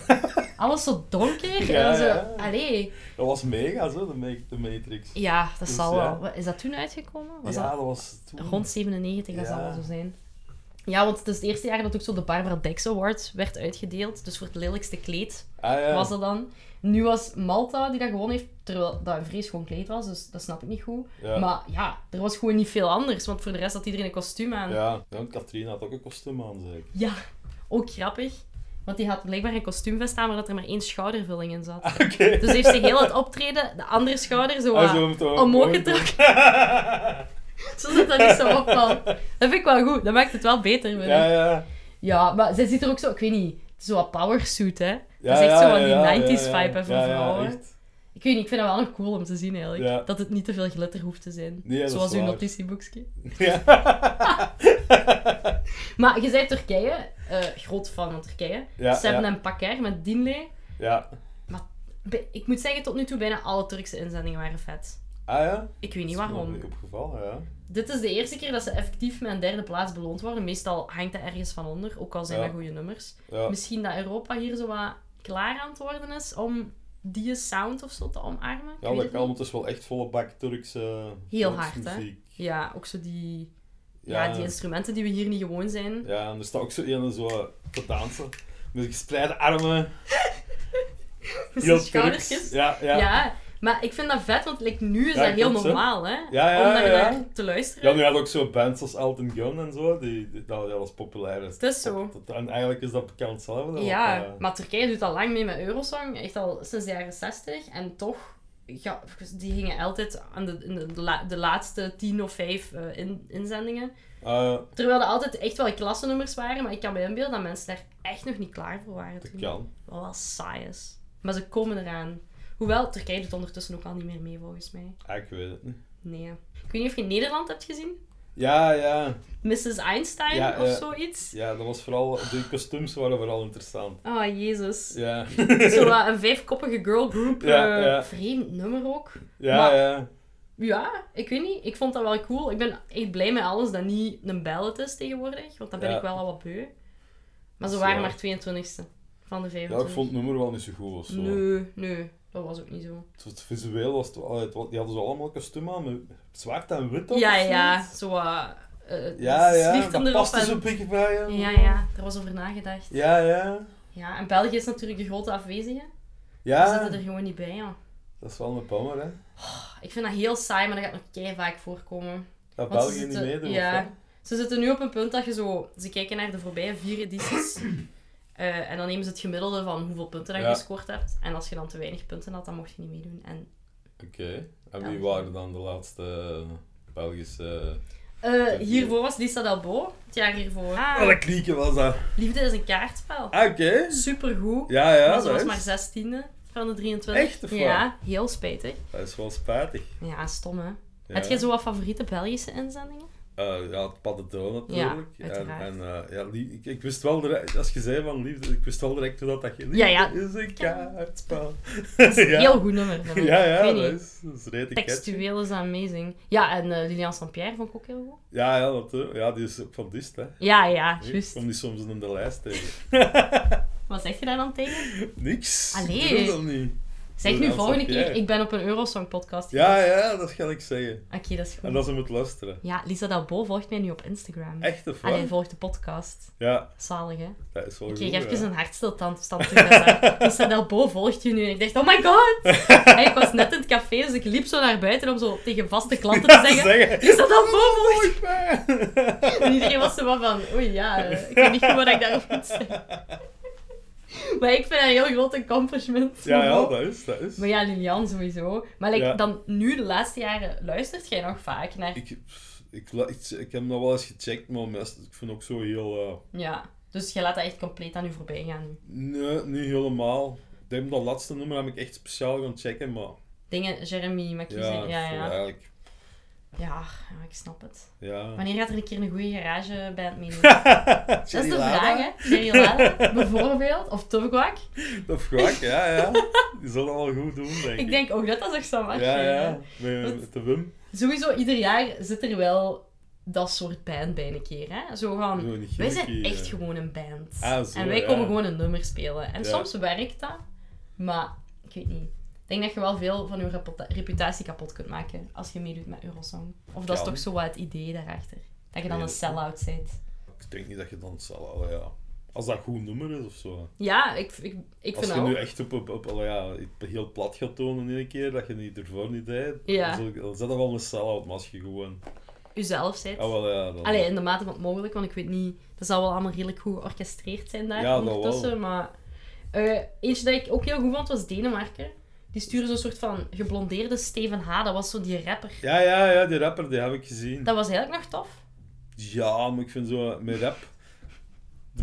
[SPEAKER 1] Alles zo donker.
[SPEAKER 2] Ja,
[SPEAKER 1] en dan zo,
[SPEAKER 2] ja.
[SPEAKER 1] Allee.
[SPEAKER 2] Dat was mega, zo, de, Ma- de Matrix.
[SPEAKER 1] Ja, dat
[SPEAKER 2] Dus
[SPEAKER 1] zal
[SPEAKER 2] ja.
[SPEAKER 1] wel. Wat- Is dat toen uitgekomen? Was
[SPEAKER 2] ja,
[SPEAKER 1] dat
[SPEAKER 2] dat was toen.
[SPEAKER 1] rond 97? Dat
[SPEAKER 2] Ja.
[SPEAKER 1] zal wel zo zijn. Ja, want het is het eerste jaar dat ook zo de Barbara Dex Award werd uitgedeeld. Dus voor het lelijkste kleed
[SPEAKER 2] Ah, ja.
[SPEAKER 1] was dat dan. Nu was Malta die dat gewonnen heeft, terwijl dat een vrees gewoon kleed was, dus dat snap ik niet goed.
[SPEAKER 2] Ja.
[SPEAKER 1] Maar ja, er was gewoon niet veel anders, want voor de rest had iedereen een kostuum aan.
[SPEAKER 2] Ja, ja want Katrien had ook een kostuum aan, zeker.
[SPEAKER 1] Ja, ook grappig. Want die had blijkbaar een kostuumvest aan, maar dat er maar één schoudervulling in zat.
[SPEAKER 2] Oké.
[SPEAKER 1] Dus heeft ze heel het optreden, de andere schouder zo
[SPEAKER 2] Ah,
[SPEAKER 1] wat
[SPEAKER 2] zo moeten we-
[SPEAKER 1] omhoog
[SPEAKER 2] we moeten-
[SPEAKER 1] getrokken. Zodat dat niet zo opvalt. Dat vind ik wel goed, dat maakt het wel beter. vind ik.
[SPEAKER 2] Ja, ja.
[SPEAKER 1] Ja, maar zij ziet er ook zo, ik weet niet, het is zo wat powersuit, hè.
[SPEAKER 2] Ja,
[SPEAKER 1] dat is echt zo
[SPEAKER 2] ja,
[SPEAKER 1] wat die
[SPEAKER 2] ja, ja,
[SPEAKER 1] 90s
[SPEAKER 2] ja,
[SPEAKER 1] vibe hè, van
[SPEAKER 2] ja, ja,
[SPEAKER 1] vrouwen.
[SPEAKER 2] echt.
[SPEAKER 1] Ik weet niet, ik vind dat wel nog cool om te zien eigenlijk.
[SPEAKER 2] Ja.
[SPEAKER 1] Dat het niet te veel glitter hoeft te zijn.
[SPEAKER 2] Nee, dat is
[SPEAKER 1] Zoals uw
[SPEAKER 2] waar.
[SPEAKER 1] notitieboekje.
[SPEAKER 2] Ja.
[SPEAKER 1] Maar je zei Turkije, eh, groot fan van Turkije.
[SPEAKER 2] Ja,
[SPEAKER 1] Seven
[SPEAKER 2] ja.
[SPEAKER 1] en Pakker met Dinle.
[SPEAKER 2] ja.
[SPEAKER 1] Bij- Ik moet zeggen, tot nu toe bijna alle Turkse inzendingen waren vet.
[SPEAKER 2] Ah ja?
[SPEAKER 1] Ik weet niet
[SPEAKER 2] Dat is me nog
[SPEAKER 1] waarom.
[SPEAKER 2] niet opgevallen, ja.
[SPEAKER 1] Dit is de eerste keer dat ze effectief met een derde plaats beloond worden. Meestal hangt dat ergens van onder, ook al zijn
[SPEAKER 2] Ja.
[SPEAKER 1] dat goede nummers.
[SPEAKER 2] ja.
[SPEAKER 1] Misschien dat Europa hier zo wat klaar aan het worden is om die sound of zo te omarmen. Ik
[SPEAKER 2] Ja,
[SPEAKER 1] weet
[SPEAKER 2] dat
[SPEAKER 1] het niet.
[SPEAKER 2] kan, want het is wel echt volle bak Turkse
[SPEAKER 1] Heel
[SPEAKER 2] Turkse
[SPEAKER 1] hard, hè?
[SPEAKER 2] muziek.
[SPEAKER 1] Ja, ook zo die, ja. die instrumenten die we hier niet gewoon zijn.
[SPEAKER 2] Ja, en er staat ook zo een zo te dansen. Met gespreide armen,
[SPEAKER 1] Met zijn
[SPEAKER 2] heel Turks.
[SPEAKER 1] schoudertjes.
[SPEAKER 2] Ja,
[SPEAKER 1] Ja.
[SPEAKER 2] ja. ja.
[SPEAKER 1] maar ik vind dat vet, want like, nu is
[SPEAKER 2] Ja,
[SPEAKER 1] dat heel
[SPEAKER 2] klopt, hè.
[SPEAKER 1] normaal, hè?
[SPEAKER 2] Ja, ja,
[SPEAKER 1] om daar
[SPEAKER 2] ja.
[SPEAKER 1] naar te luisteren.
[SPEAKER 2] nu had ook zo bands als Elton John en zo, die, die- dat, dat was populair.
[SPEAKER 1] Het is zo.
[SPEAKER 2] Dat- en eigenlijk is dat bekend zelf. dat-
[SPEAKER 1] Ja,
[SPEAKER 2] eh,
[SPEAKER 1] maar Turkije doet al lang mee met Eurosong, echt al sinds de jaren 60. En toch, ja, die gingen altijd aan de, in de, de, la- de laatste 10 of 5 in, inzendingen.
[SPEAKER 2] eh,
[SPEAKER 1] Terwijl er altijd echt wel klassennummers waren, maar ik kan me inbeelden dat mensen daar echt nog niet klaar voor waren.
[SPEAKER 2] dat
[SPEAKER 1] toen.
[SPEAKER 2] kan.
[SPEAKER 1] Wat wel saai is. Maar ze komen eraan. Hoewel, Turkije doet ondertussen ook al niet meer mee, volgens mij.
[SPEAKER 2] Ah, ik weet het niet.
[SPEAKER 1] Nee. Ik weet niet of je Nederland hebt gezien?
[SPEAKER 2] Ja, ja.
[SPEAKER 1] Mrs. Einstein
[SPEAKER 2] Ja,
[SPEAKER 1] of
[SPEAKER 2] eh,
[SPEAKER 1] zoiets?
[SPEAKER 2] Ja, dat was vooral... De kostuums waren vooral interessant.
[SPEAKER 1] Oh, jezus.
[SPEAKER 2] Ja.
[SPEAKER 1] Zo eh, een vijfkoppige girlgroup.
[SPEAKER 2] Ja,
[SPEAKER 1] eh,
[SPEAKER 2] ja.
[SPEAKER 1] Vreemd nummer ook.
[SPEAKER 2] Ja,
[SPEAKER 1] Maar-
[SPEAKER 2] ja.
[SPEAKER 1] Ja, ik weet niet. Ik vond dat wel cool. Ik ben echt blij met alles dat niet een ballad is tegenwoordig. Want dan ben
[SPEAKER 2] Ja.
[SPEAKER 1] ik wel al wat beu. Maar ze
[SPEAKER 2] Zo.
[SPEAKER 1] waren maar 22e van de 25.
[SPEAKER 2] Ja, ik vond het nummer wel niet zo goed of zo.
[SPEAKER 1] Nee, nee. Dat was ook niet zo.
[SPEAKER 2] Het, het visueel was... Het, wel- het, wa- die hadden zo allemaal kostuum aan, met zwart en wit of
[SPEAKER 1] ja,
[SPEAKER 2] zoiets.
[SPEAKER 1] ja. Zo wat... eh
[SPEAKER 2] Ja, ja.
[SPEAKER 1] slierten
[SPEAKER 2] Dat
[SPEAKER 1] erop
[SPEAKER 2] paste
[SPEAKER 1] en-
[SPEAKER 2] zo'n beetje bij hem.
[SPEAKER 1] Ja, ja. Daar was over nagedacht. Ja.
[SPEAKER 2] Ja, ja.
[SPEAKER 1] en België is natuurlijk de grote afwezige. We
[SPEAKER 2] Ja,
[SPEAKER 1] zitten er gewoon niet bij, ja.
[SPEAKER 2] dat is wel een bummer, hè.
[SPEAKER 1] Ik vind dat heel saai, maar dat gaat nog kei vaak voorkomen.
[SPEAKER 2] Dat
[SPEAKER 1] Want ze
[SPEAKER 2] België niet
[SPEAKER 1] zitten-
[SPEAKER 2] meedoen, of
[SPEAKER 1] Ja.
[SPEAKER 2] wat?
[SPEAKER 1] Ze zitten nu op een punt dat je zo... Ze kijken naar de voorbije vier edities. eh, en dan nemen ze het gemiddelde van hoeveel punten dat je
[SPEAKER 2] Ja.
[SPEAKER 1] gescoord hebt. En als je dan te weinig punten had, dan mocht je niet meedoen. En,
[SPEAKER 2] Oké. En
[SPEAKER 1] Ja.
[SPEAKER 2] wie waren dan de laatste eh, Belgische...
[SPEAKER 1] eh, hiervoor was Lisa Dalbo. Het jaar hiervoor. Ah,
[SPEAKER 2] Welke krieken was dat?
[SPEAKER 1] Liefde is een kaartspel.
[SPEAKER 2] Ah, Oké.
[SPEAKER 1] Supergoed.
[SPEAKER 2] Ja, ja.
[SPEAKER 1] maar ze
[SPEAKER 2] dat
[SPEAKER 1] was
[SPEAKER 2] is-
[SPEAKER 1] maar zestiende van de 23.
[SPEAKER 2] Echt, of waar?
[SPEAKER 1] Ja, heel spijtig.
[SPEAKER 2] Dat is wel spijtig.
[SPEAKER 1] Ja, stom hè.
[SPEAKER 2] Ja.
[SPEAKER 1] Heb jij zo wat favoriete Belgische inzendingen?
[SPEAKER 2] Eh, ja, het paddentroon natuurlijk.
[SPEAKER 1] Ja,
[SPEAKER 2] en
[SPEAKER 1] uiteraard.
[SPEAKER 2] en eh, ja, lie- ik, ik wist wel direct, als je zei van liefde, ik wist wel direct hoe dat dat ging.
[SPEAKER 1] Ja, ja.
[SPEAKER 2] Liefde is een kaartspel. ja.
[SPEAKER 1] Heel goed nummer. vind ik.
[SPEAKER 2] Ja,
[SPEAKER 1] Ik
[SPEAKER 2] ja,
[SPEAKER 1] weet
[SPEAKER 2] dat
[SPEAKER 1] niet.
[SPEAKER 2] is, dat is redelijk catchy.
[SPEAKER 1] Textueel is amazing. Ja, en eh, Lilian Saint-Pierre vond ik ook heel goed.
[SPEAKER 2] Ja, ja, natuurlijk. Ja, die is ook van Dist, hè.
[SPEAKER 1] Ja, ja,
[SPEAKER 2] Ik
[SPEAKER 1] juist.
[SPEAKER 2] kom die soms in de lijst tegen.
[SPEAKER 1] Wat zeg je daar dan tegen?
[SPEAKER 2] Niks.
[SPEAKER 1] Allee.
[SPEAKER 2] Ik doe dat niet.
[SPEAKER 1] Zeg nu
[SPEAKER 2] Lilian
[SPEAKER 1] volgende keer,
[SPEAKER 2] Saint-Pierre.
[SPEAKER 1] ik ben op een Eurosong-podcast.
[SPEAKER 2] Ja, ja, dat ga ik zeggen.
[SPEAKER 1] Oké, dat is
[SPEAKER 2] En
[SPEAKER 1] goed.
[SPEAKER 2] dat ze moet luisteren.
[SPEAKER 1] Ja, Lisa Dalbo volgt mij nu op Instagram.
[SPEAKER 2] Echt of
[SPEAKER 1] Allee,
[SPEAKER 2] wat?
[SPEAKER 1] volgt de podcast.
[SPEAKER 2] Ja,
[SPEAKER 1] Zalig, hè? Oké,
[SPEAKER 2] dat is wel
[SPEAKER 1] ik
[SPEAKER 2] goed.
[SPEAKER 1] heb even
[SPEAKER 2] ja.
[SPEAKER 1] een hartstilstand stand toe. gezet. Lisa Dalbo volgt je nu. En ik dacht, oh my god! En ik was net in het café, dus ik liep zo naar buiten om zo tegen vaste klanten te
[SPEAKER 2] Te
[SPEAKER 1] zeggen...
[SPEAKER 2] zeggen.
[SPEAKER 1] Lisa Dalbo volgt
[SPEAKER 2] Oei, man.
[SPEAKER 1] En iedereen was zo wat van, oei ja, eh, ik weet niet goed wat ik daarop moet zeggen. Maar ik vind dat een heel groot accomplishment.
[SPEAKER 2] Ja, ja, dat is, dat is.
[SPEAKER 1] Maar ja, Lilian sowieso. Maar like,
[SPEAKER 2] Ja.
[SPEAKER 1] dan nu, de laatste jaren, luistert jij nog vaak naar...
[SPEAKER 2] Ik, ik, la- ik, ik heb nog wel eens gecheckt, maar meestal, ik vind ook zo heel... eh,
[SPEAKER 1] Ja. Dus jij laat dat echt compleet aan u voorbij gaan nu.
[SPEAKER 2] nee, niet helemaal. Ik denk dat laatste nummer heb ik echt speciaal gaan checken, maar...
[SPEAKER 1] Dingen, Jeremy,
[SPEAKER 2] Ja,
[SPEAKER 1] McKissick, ja,
[SPEAKER 2] zo
[SPEAKER 1] ja.
[SPEAKER 2] eigenlijk.
[SPEAKER 1] Ja, ja, ik snap het.
[SPEAKER 2] Ja.
[SPEAKER 1] Wanneer gaat er een keer een goede garageband meenemen? Dat is de vraag, hè. Jerry Lada, bijvoorbeeld. Of Turkwak.
[SPEAKER 2] Dat vraag, ja, ja. Die zullen wel goed doen, denk ik.
[SPEAKER 1] Ik denk ook dat dat nog zou marchen.
[SPEAKER 2] Ja, ja.
[SPEAKER 1] Wat-
[SPEAKER 2] Met, met de Wim.
[SPEAKER 1] Sowieso, ieder jaar zit er wel dat soort band bij een keer. Hè? Zo van,
[SPEAKER 2] Zo een
[SPEAKER 1] wij zijn
[SPEAKER 2] gimmicky,
[SPEAKER 1] echt
[SPEAKER 2] eh.
[SPEAKER 1] gewoon een band.
[SPEAKER 2] Ah, zo,
[SPEAKER 1] en wij
[SPEAKER 2] ja.
[SPEAKER 1] komen gewoon een nummer spelen. En
[SPEAKER 2] Ja.
[SPEAKER 1] soms werkt dat, maar ik weet niet. Ik denk dat je wel veel van je reputa- reputatie kapot kunt maken als je meedoet met Eurosong. Of dat is
[SPEAKER 2] Kan.
[SPEAKER 1] toch zo wat het idee daarachter. Dat je dan
[SPEAKER 2] Nee,
[SPEAKER 1] een
[SPEAKER 2] dat-
[SPEAKER 1] sell-out bent.
[SPEAKER 2] Ik denk niet dat je dan zal... Ja. Als dat een goed nummer is of zo.
[SPEAKER 1] Ja, ik, ik, ik
[SPEAKER 2] Als
[SPEAKER 1] vind dat
[SPEAKER 2] je
[SPEAKER 1] ook.
[SPEAKER 2] nu echt op, op, op, allee, ja, heel plat gaat tonen in één keer, dat je niet ervoor niet deed,
[SPEAKER 1] Ja.
[SPEAKER 2] dan, zal- dan zet dat wel een sell-out, maar als je gewoon...
[SPEAKER 1] Uzelf bent.
[SPEAKER 2] Ah, wel, ja, dan,
[SPEAKER 1] Allee, in de mate van het mogelijk, want ik weet niet... Dat zal wel allemaal redelijk goed georchestreerd zijn daar
[SPEAKER 2] Ja, dat
[SPEAKER 1] ondertussen,
[SPEAKER 2] wel.
[SPEAKER 1] maar... eh, eentje dat ik ook heel goed vond, was Denemarken. Die stuurde zo'n soort van geblondeerde Steven H. Dat was zo die rapper.
[SPEAKER 2] ja, ja, ja, die rapper, die heb ik gezien.
[SPEAKER 1] Dat was eigenlijk nog tof.
[SPEAKER 2] Ja, maar ik vind zo, met rap,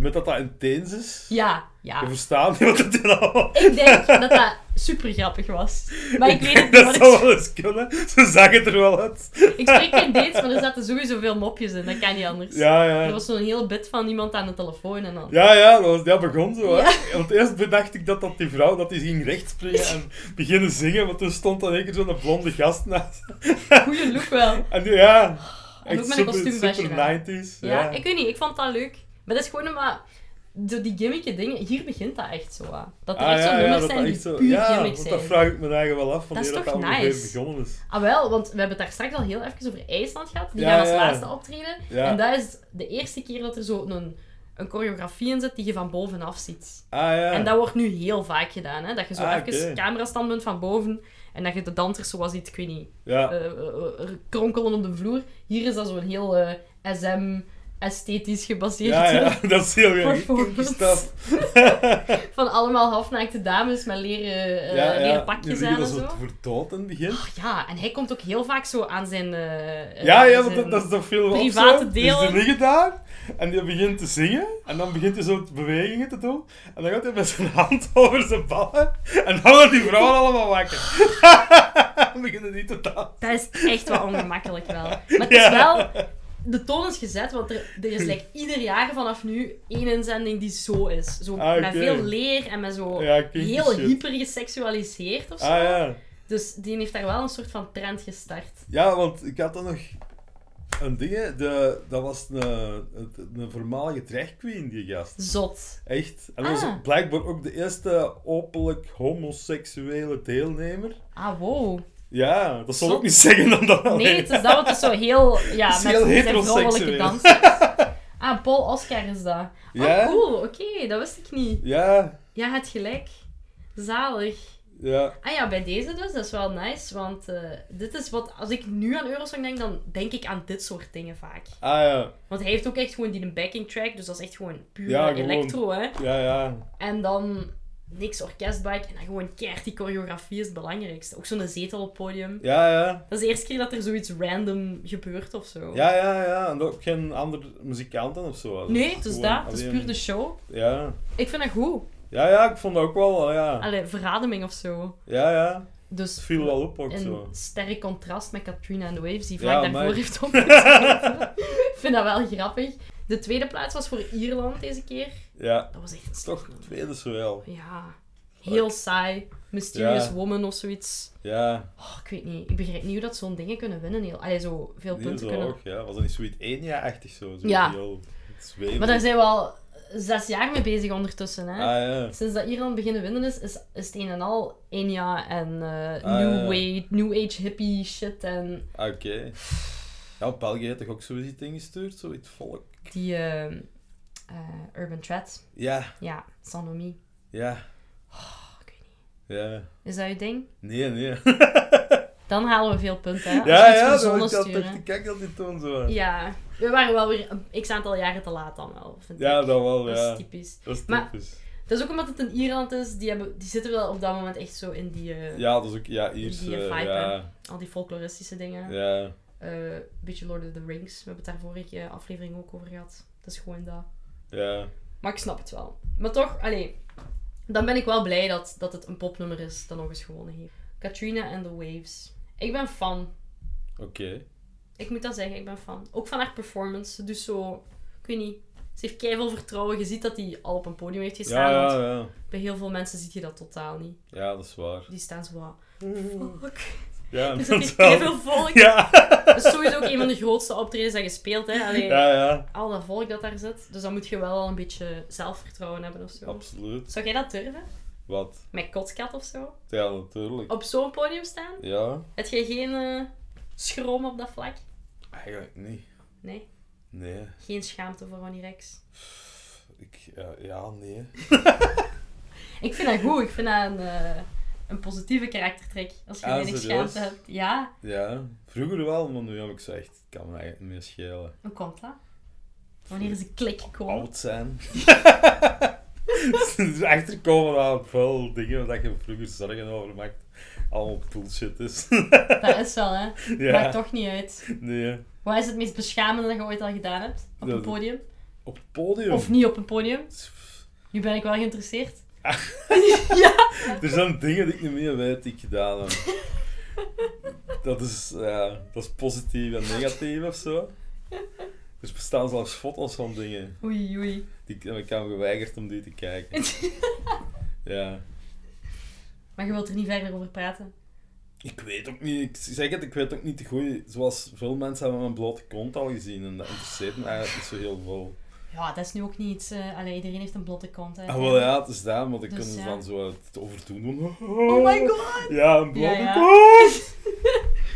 [SPEAKER 2] met dat dat intens is,
[SPEAKER 1] Ja,
[SPEAKER 2] je
[SPEAKER 1] ja.
[SPEAKER 2] verstaat niet wat het is allemaal.
[SPEAKER 1] Ik denk dat dat super grappig was. Maar ik weet het niet,
[SPEAKER 2] dat
[SPEAKER 1] want ik,
[SPEAKER 2] zou wel eens kunnen, ze zag het er wel uit.
[SPEAKER 1] ik spreek geen dates, maar er zaten sowieso veel mopjes in. Dat kan niet anders.
[SPEAKER 2] Ja,
[SPEAKER 1] Er
[SPEAKER 2] ja.
[SPEAKER 1] was zo'n hele bit van iemand aan de telefoon en dan...
[SPEAKER 2] Ja, ja, dat, was, dat begon zo. hè. Want eerst bedacht ik dat, dat die vrouw dat die ging rechtspringen en beginnen zingen, want toen stond dan één keer zo'n blonde gast naast.
[SPEAKER 1] Goeie look wel.
[SPEAKER 2] En die- ja,
[SPEAKER 1] En ook met
[SPEAKER 2] echt
[SPEAKER 1] een
[SPEAKER 2] super,
[SPEAKER 1] kostuumvestje
[SPEAKER 2] super
[SPEAKER 1] aan.
[SPEAKER 2] 90s.
[SPEAKER 1] Ja, ik weet niet, ik vond dat leuk. Maar dat is gewoon omdat de, die gimmicky dingen, hier begint dat echt zo aan. Dat er
[SPEAKER 2] Ah,
[SPEAKER 1] echt zo'n
[SPEAKER 2] ja, ja,
[SPEAKER 1] nummers
[SPEAKER 2] dat
[SPEAKER 1] zijn
[SPEAKER 2] dat
[SPEAKER 1] die
[SPEAKER 2] echt zo-
[SPEAKER 1] puur
[SPEAKER 2] Ja,
[SPEAKER 1] gimmick
[SPEAKER 2] want
[SPEAKER 1] zijn.
[SPEAKER 2] dat vraag ik me eigenlijk wel af, wanneer
[SPEAKER 1] is
[SPEAKER 2] dat,
[SPEAKER 1] toch
[SPEAKER 2] dat ongeveer
[SPEAKER 1] nice?
[SPEAKER 2] begonnen is.
[SPEAKER 1] Ah wel, want we hebben het daar straks al heel even over IJsland gehad. Die
[SPEAKER 2] Ja,
[SPEAKER 1] gaan als
[SPEAKER 2] ja.
[SPEAKER 1] laatste optreden.
[SPEAKER 2] Ja.
[SPEAKER 1] En dat is de eerste keer dat er zo'n een, een choreografie in zit die je van bovenaf ziet.
[SPEAKER 2] Ah ja.
[SPEAKER 1] En dat wordt nu heel vaak gedaan. Hè? Dat je zo
[SPEAKER 2] Ah,
[SPEAKER 1] even
[SPEAKER 2] oké.
[SPEAKER 1] camerastandpunt van boven en dat je de dansers zoals iets, ik weet niet,
[SPEAKER 2] ja.
[SPEAKER 1] eh, eh, eh, kronkelen op de vloer. Hier is dat zo'n heel eh, SM esthetisch gebaseerd
[SPEAKER 2] ja, ja, dat is heel erg kinky
[SPEAKER 1] performance.
[SPEAKER 2] stuff.
[SPEAKER 1] van allemaal halfnaakte dames met leren, eh, leren
[SPEAKER 2] Je
[SPEAKER 1] pakjes
[SPEAKER 2] ziet
[SPEAKER 1] aan en
[SPEAKER 2] dat
[SPEAKER 1] zo.
[SPEAKER 2] zo verdood in het begin.
[SPEAKER 1] Ja, en hij komt ook heel vaak zo aan zijn... eh, eh,
[SPEAKER 2] Ja, ja,
[SPEAKER 1] zijn-
[SPEAKER 2] want dat, dat is dat veel
[SPEAKER 1] private deel.
[SPEAKER 2] Dus die liggen daar en die begint te zingen. En dan begint hij zo bewegingen te doen. En dan gaat hij met zijn hand over zijn ballen. En dan wordt die vrouwen allemaal wakker. dan beginnen die te dansen.
[SPEAKER 1] Dat is echt wel ongemakkelijk wel. Maar het
[SPEAKER 2] Ja.
[SPEAKER 1] is wel... De toon is gezet, want er, er is like, ieder jaar vanaf nu één inzending die zo is. Zo,
[SPEAKER 2] Ah,
[SPEAKER 1] Met
[SPEAKER 2] oké.
[SPEAKER 1] veel leer en met zo
[SPEAKER 2] Ja, kinky
[SPEAKER 1] heel
[SPEAKER 2] shit.
[SPEAKER 1] hyper geseksualiseerd of zo.
[SPEAKER 2] Ah ja.
[SPEAKER 1] Dus die heeft daar wel een soort van trend gestart.
[SPEAKER 2] Ja, want ik had dan nog een ding. hè. De, dat was een, een, een voormalige dragqueen, die gast.
[SPEAKER 1] Zot.
[SPEAKER 2] Echt. En dat was
[SPEAKER 1] Ah.
[SPEAKER 2] blijkbaar ook de eerste openlijk homoseksuele deelnemer.
[SPEAKER 1] Ah, wow.
[SPEAKER 2] Ja, dat zal
[SPEAKER 1] Zo-
[SPEAKER 2] ook niet zeggen dan dat.
[SPEAKER 1] Nee, het is dat wat is zo heel... Ja,
[SPEAKER 2] Het is
[SPEAKER 1] met
[SPEAKER 2] heel
[SPEAKER 1] zijn vrouwelijke
[SPEAKER 2] heteroseksueel.
[SPEAKER 1] dans. Ah, Paul Oscar is dat.
[SPEAKER 2] Ja?
[SPEAKER 1] Oh, cool. Oké, dat wist ik niet.
[SPEAKER 2] Ja,
[SPEAKER 1] Ja, het gelijk. Zalig.
[SPEAKER 2] ja.
[SPEAKER 1] Ah ja, bij deze dus, dat is wel nice, want eh, dit is wat, als ik nu aan Eurosong denk, dan denk ik aan dit soort dingen vaak.
[SPEAKER 2] Ah ja,
[SPEAKER 1] Want hij heeft ook echt gewoon die backing track, dus dat is echt gewoon puur
[SPEAKER 2] Ja, gewoon.
[SPEAKER 1] electro, hè.
[SPEAKER 2] ja, ja.
[SPEAKER 1] En dan niks orkestbike en dan gewoon keihard die choreografie is het belangrijkste. Ook zo'n zetel op het podium.
[SPEAKER 2] Ja, ja.
[SPEAKER 1] Dat is de eerste keer dat er zoiets random gebeurt of zo.
[SPEAKER 2] Ja, ja, ja. En ook geen andere muzikanten of zo.
[SPEAKER 1] Nee, het is
[SPEAKER 2] Gewoon
[SPEAKER 1] dat. Het is
[SPEAKER 2] alleen-
[SPEAKER 1] puur de show.
[SPEAKER 2] Ja.
[SPEAKER 1] Ik vind dat goed.
[SPEAKER 2] Ja, ja, ik vond dat ook wel, ja.
[SPEAKER 1] Allee, verademing of zo.
[SPEAKER 2] Ja, ja. Het
[SPEAKER 1] Dus
[SPEAKER 2] viel wel op ook
[SPEAKER 1] een
[SPEAKER 2] zo.
[SPEAKER 1] sterk contrast met Katrina and the Waves, die
[SPEAKER 2] Ja,
[SPEAKER 1] vlak daarvoor
[SPEAKER 2] amai.
[SPEAKER 1] heeft opgetreden. Ik vind dat wel grappig. De tweede plaats was voor Ierland deze keer.
[SPEAKER 2] Ja.
[SPEAKER 1] Dat was echt een slecht
[SPEAKER 2] Toch het
[SPEAKER 1] nummer.
[SPEAKER 2] tweede zo wel.
[SPEAKER 1] Ja. Heel saai. Mysterious
[SPEAKER 2] Ja.
[SPEAKER 1] Woman of zoiets.
[SPEAKER 2] Ja.
[SPEAKER 1] Oh, ik weet niet. Ik begrijp niet hoe dat zo'n dingen kunnen winnen. Heel. Allee, zo veel
[SPEAKER 2] Die
[SPEAKER 1] punten
[SPEAKER 2] zo
[SPEAKER 1] kunnen...
[SPEAKER 2] ook, ja. Was dat niet Sweet 1 ja achtig zo? zo
[SPEAKER 1] Ja.
[SPEAKER 2] Heel zweverig.
[SPEAKER 1] Maar daar zijn we al zes jaar mee bezig ondertussen, hè.
[SPEAKER 2] Ah ja.
[SPEAKER 1] Sinds dat Ierland beginnen winnen is, is, is het een en al Enya en eh,
[SPEAKER 2] Ah,
[SPEAKER 1] New
[SPEAKER 2] ja.
[SPEAKER 1] Wave, New Age hippie shit en
[SPEAKER 2] Ah, Oké. Ja, België heeft toch ook zoiets ingestuurd? Zoiets volk?
[SPEAKER 1] Die eh, eh, Urban Threat.
[SPEAKER 2] Ja,
[SPEAKER 1] Ja, Sanomie.
[SPEAKER 2] ja,
[SPEAKER 1] Oh, ik weet niet.
[SPEAKER 2] ja.
[SPEAKER 1] Is dat je ding?
[SPEAKER 2] Nee, nee.
[SPEAKER 1] Dan halen we veel punten. Hè? Als
[SPEAKER 2] Ja,
[SPEAKER 1] we iets
[SPEAKER 2] ja, dat
[SPEAKER 1] verzonnen
[SPEAKER 2] ik dat
[SPEAKER 1] sturen.
[SPEAKER 2] toch te kijken dat die toon zo.
[SPEAKER 1] Ja, we waren wel weer een x aantal jaren te laat dan wel. Vind
[SPEAKER 2] Ja,
[SPEAKER 1] ik.
[SPEAKER 2] dat wel,
[SPEAKER 1] Dat
[SPEAKER 2] ja.
[SPEAKER 1] is typisch.
[SPEAKER 2] Dat is
[SPEAKER 1] Maar-
[SPEAKER 2] typisch.
[SPEAKER 1] Dat is ook omdat het in Ierland is. Die, hebben, die zitten wel op dat moment echt zo in die, eh,
[SPEAKER 2] Ja, dat is ook, ja, Ierse,
[SPEAKER 1] Die vibe, hè.
[SPEAKER 2] ja,
[SPEAKER 1] al die folkloristische dingen. Eh
[SPEAKER 2] ja.
[SPEAKER 1] beetje Lord of the Rings. We hebben het daar vorige aflevering ook over gehad. Dat is gewoon dat.
[SPEAKER 2] Ja,
[SPEAKER 1] Maar ik snap het wel. Maar toch, allee, dan ben ik wel blij dat, dat het een popnummer is dat nog eens gewonnen heeft. Katrina and the Waves. Ik ben fan.
[SPEAKER 2] oké.
[SPEAKER 1] Ik moet dat zeggen, ik ben fan. Ook van haar performance. Dus zo, ik weet niet. Ze heeft keihard vertrouwen. Je ziet dat die al op een podium heeft
[SPEAKER 2] Ja,
[SPEAKER 1] gestaan.
[SPEAKER 2] ja,
[SPEAKER 1] want
[SPEAKER 2] ja.
[SPEAKER 1] bij heel veel mensen zie je dat totaal niet.
[SPEAKER 2] Ja, dat is waar.
[SPEAKER 1] Die staan zo wat. Fuck.
[SPEAKER 2] Ja,
[SPEAKER 1] Er
[SPEAKER 2] dat
[SPEAKER 1] zit hier
[SPEAKER 2] is
[SPEAKER 1] keiveel volk.
[SPEAKER 2] Ja,
[SPEAKER 1] Dat is sowieso ook een van de grootste optredens dat je speelt, hè. Allee,
[SPEAKER 2] ja, ja.
[SPEAKER 1] al dat volk dat daar zit. Dus dan moet je wel al een beetje zelfvertrouwen hebben of zo.
[SPEAKER 2] Absoluut.
[SPEAKER 1] Zou jij dat durven?
[SPEAKER 2] Wat?
[SPEAKER 1] Met kotskat of zo?
[SPEAKER 2] Ja, natuurlijk.
[SPEAKER 1] op zo'n podium staan?
[SPEAKER 2] Ja,
[SPEAKER 1] Heb jij geen eh, schroom op dat vlak?
[SPEAKER 2] eigenlijk niet.
[SPEAKER 1] Nee.
[SPEAKER 2] Nee.
[SPEAKER 1] Geen schaamte voor Ronnie Rex.
[SPEAKER 2] Ik, ja, ja, nee.
[SPEAKER 1] Ik vind dat goed. Ik vind dat een, eh, een positieve karaktertrek. Als je
[SPEAKER 2] Ah,
[SPEAKER 1] weinig
[SPEAKER 2] serieus?
[SPEAKER 1] schaamte hebt. Ja.
[SPEAKER 2] Ja, vroeger wel, maar nu heb ik zo echt, het kan me eigenlijk niet meer schelen.
[SPEAKER 1] Hoe komt dat? Wanneer is een klik gekomen?
[SPEAKER 2] Oud zijn. Dus Erachter komen aan veel dingen waar je vroeger zorgen over maakt. Allemaal bullshit is.
[SPEAKER 1] Dat is wel, hè. Maakt
[SPEAKER 2] ja,
[SPEAKER 1] toch niet uit.
[SPEAKER 2] nee.
[SPEAKER 1] Wat is het meest beschamende dat je ooit al gedaan hebt? Op een
[SPEAKER 2] Dat-
[SPEAKER 1] podium?
[SPEAKER 2] Op het podium.
[SPEAKER 1] Of niet op een podium? Nu ben ik wel geïnteresseerd. ja.
[SPEAKER 2] Er zijn dingen die ik niet meer weet die ik gedaan heb. Dat is, ja, dat is positief en negatief of zo. Er bestaan zelfs foto's van dingen.
[SPEAKER 1] Oei, oei.
[SPEAKER 2] Die, ik- en ik heb me geweigerd om die te kijken. Ja.
[SPEAKER 1] Maar je wilt er niet verder over praten.
[SPEAKER 2] Ik weet ook niet, ik zeg het, ik weet ook niet te goed. Zoals veel mensen hebben mijn blote kont al gezien en dat interesseert me eigenlijk niet zo heel veel.
[SPEAKER 1] Ja, dat is nu ook niet... eh allee, iedereen heeft een blotte kont, hè.
[SPEAKER 2] Ah, wel ja, het is daar, want ik
[SPEAKER 1] Dus
[SPEAKER 2] kon ze
[SPEAKER 1] ja.
[SPEAKER 2] dan zo het overdoen doen.
[SPEAKER 1] Oh my god!
[SPEAKER 2] Ja, een blonde
[SPEAKER 1] Ja, ja.
[SPEAKER 2] kont.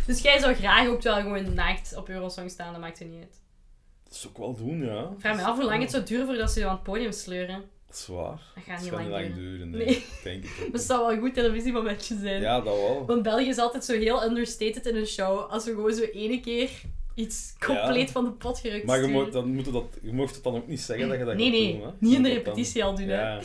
[SPEAKER 1] Dus jij zou graag ook wel gewoon naakt op Eurosong staan, dat maakt je niet uit.
[SPEAKER 2] Dat zou ik wel doen, ja.
[SPEAKER 1] Ik vraag me af hoe lang het zou duren voordat ze je aan het podium sleuren.
[SPEAKER 2] Dat is waar.
[SPEAKER 1] Dat gaat
[SPEAKER 2] Het
[SPEAKER 1] niet lang
[SPEAKER 2] gaat niet lang
[SPEAKER 1] duren.
[SPEAKER 2] duren,
[SPEAKER 1] Nee.
[SPEAKER 2] nee. Ik Denk het ook
[SPEAKER 1] Dat
[SPEAKER 2] niet.
[SPEAKER 1] zou wel een goed televisiemomentje zijn.
[SPEAKER 2] Ja, dat wel.
[SPEAKER 1] Want België is altijd zo heel understated in een show als we gewoon zo ene keer iets compleet van de pot gerukt
[SPEAKER 2] Maar je
[SPEAKER 1] sturen.
[SPEAKER 2] mocht, dan moet je dat, je mocht het dan ook niet zeggen dat je dat
[SPEAKER 1] Nee,
[SPEAKER 2] gaat
[SPEAKER 1] nee.
[SPEAKER 2] doen. Hè?
[SPEAKER 1] Niet in de
[SPEAKER 2] Je moet dat dan-
[SPEAKER 1] repetitie al doen, hè.
[SPEAKER 2] Ja.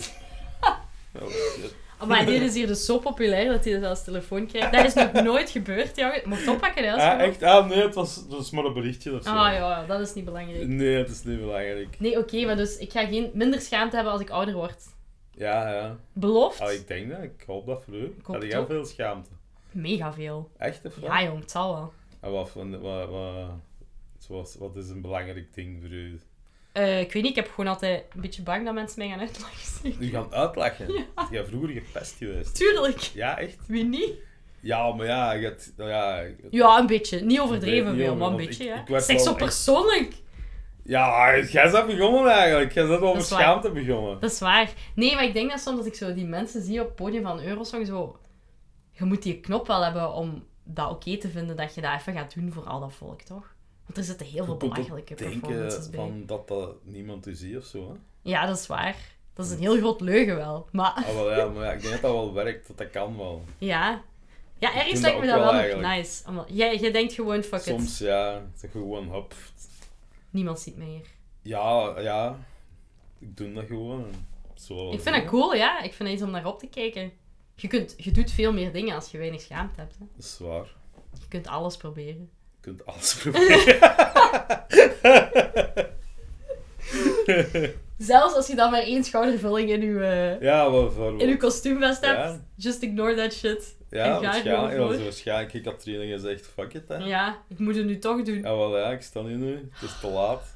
[SPEAKER 2] Oh, shit.
[SPEAKER 1] Maar dit is hier dus zo populair dat hij dat als telefoon krijgt. Dat is nog nooit gebeurd, jongen. Mocht oppakken, hè. als je
[SPEAKER 2] Ah,
[SPEAKER 1] wilt.
[SPEAKER 2] echt? Ah, nee, het was, het was maar een berichtje of zo.
[SPEAKER 1] Ah ja, dat is niet belangrijk.
[SPEAKER 2] Nee, het is niet belangrijk.
[SPEAKER 1] Nee, oké, maar dus ik ga geen minder schaamte hebben als ik ouder word.
[SPEAKER 2] Ja, ja.
[SPEAKER 1] Beloofd?
[SPEAKER 2] Ah, ik denk dat. Ik hoop dat voor u.
[SPEAKER 1] hoop
[SPEAKER 2] Had
[SPEAKER 1] het
[SPEAKER 2] jij
[SPEAKER 1] ook.
[SPEAKER 2] veel schaamte?
[SPEAKER 1] Mega veel.
[SPEAKER 2] Echt, of wat?
[SPEAKER 1] Ja, jong, het zal wel.
[SPEAKER 2] En wat, van- wat, wat, zoals- wat is een belangrijk ding voor u?
[SPEAKER 1] Eh, ik weet niet, ik heb gewoon altijd een beetje bang dat mensen mij gaan uitlachen.
[SPEAKER 2] U gaat uitlachen. Ja. Jij vroeger gepest geweest.
[SPEAKER 1] Tuurlijk,
[SPEAKER 2] Ja, echt?
[SPEAKER 1] wie niet?
[SPEAKER 2] Ja, maar ja, je hebt- nou ja,
[SPEAKER 1] Ja, een beetje. Niet overdreven
[SPEAKER 2] Niet
[SPEAKER 1] veel, maar een
[SPEAKER 2] overdreven,
[SPEAKER 1] beetje,
[SPEAKER 2] want ik-
[SPEAKER 1] ja.
[SPEAKER 2] ik werd
[SPEAKER 1] Seks
[SPEAKER 2] wel
[SPEAKER 1] op
[SPEAKER 2] echt-
[SPEAKER 1] persoonlijk.
[SPEAKER 2] ja, jij bent begonnen eigenlijk. Jij bent over
[SPEAKER 1] is waar.
[SPEAKER 2] schaamte begonnen.
[SPEAKER 1] Dat is waar. Nee, maar ik denk dat soms dat ik zo die mensen zie op het podium van Eurosong zo... Je moet die knop wel hebben om dat oké te vinden dat je dat even gaat doen voor al dat volk, toch? Want er zitten heel veel
[SPEAKER 2] Je kunt ook
[SPEAKER 1] belachelijke performances
[SPEAKER 2] denken
[SPEAKER 1] bij.
[SPEAKER 2] van dat dat niemand u ziet of zo. Hè?
[SPEAKER 1] Ja, dat is waar. Dat is een heel groot leugen wel. Maar
[SPEAKER 2] Ah, wel, ja, maar ja, ik denk dat dat wel werkt. Dat, dat kan wel.
[SPEAKER 1] ja... Ja, ergens
[SPEAKER 2] vind
[SPEAKER 1] lijkt
[SPEAKER 2] dat
[SPEAKER 1] me
[SPEAKER 2] ook
[SPEAKER 1] dat wel nog
[SPEAKER 2] wel eigenlijk.
[SPEAKER 1] nice. Omdat- Jij, jij denkt gewoon, fuck it.
[SPEAKER 2] Soms, ja, zeg je gewoon hop.
[SPEAKER 1] Niemand ziet mij hier.
[SPEAKER 2] Ja, ja. Ik doe dat gewoon. Zo wel
[SPEAKER 1] Ik vind
[SPEAKER 2] doen,
[SPEAKER 1] dat cool, ja. Ik vind het iets om naar op te kijken. Je, kunt, je doet veel meer dingen als je weinig schaamte hebt. Hè.
[SPEAKER 2] hè. Dat is waar.
[SPEAKER 1] Je kunt alles proberen.
[SPEAKER 2] Je kunt alles proberen.
[SPEAKER 1] Zelfs als je dan maar één schoudervulling in je, eh,
[SPEAKER 2] ja, wat voor.
[SPEAKER 1] in je kostuumvest hebt.
[SPEAKER 2] Ja.
[SPEAKER 1] Just ignore that shit. en
[SPEAKER 2] Ja,
[SPEAKER 1] ga er
[SPEAKER 2] waarschijnlijk.
[SPEAKER 1] gewoon
[SPEAKER 2] Ja,
[SPEAKER 1] voor.
[SPEAKER 2] waarschijnlijk. Ik had training gezegd: fuck it, hè. Ja.
[SPEAKER 1] Ja, ik moet het nu toch doen. Ja,
[SPEAKER 2] wel, ja, ik sta hier nu. Het is te laat.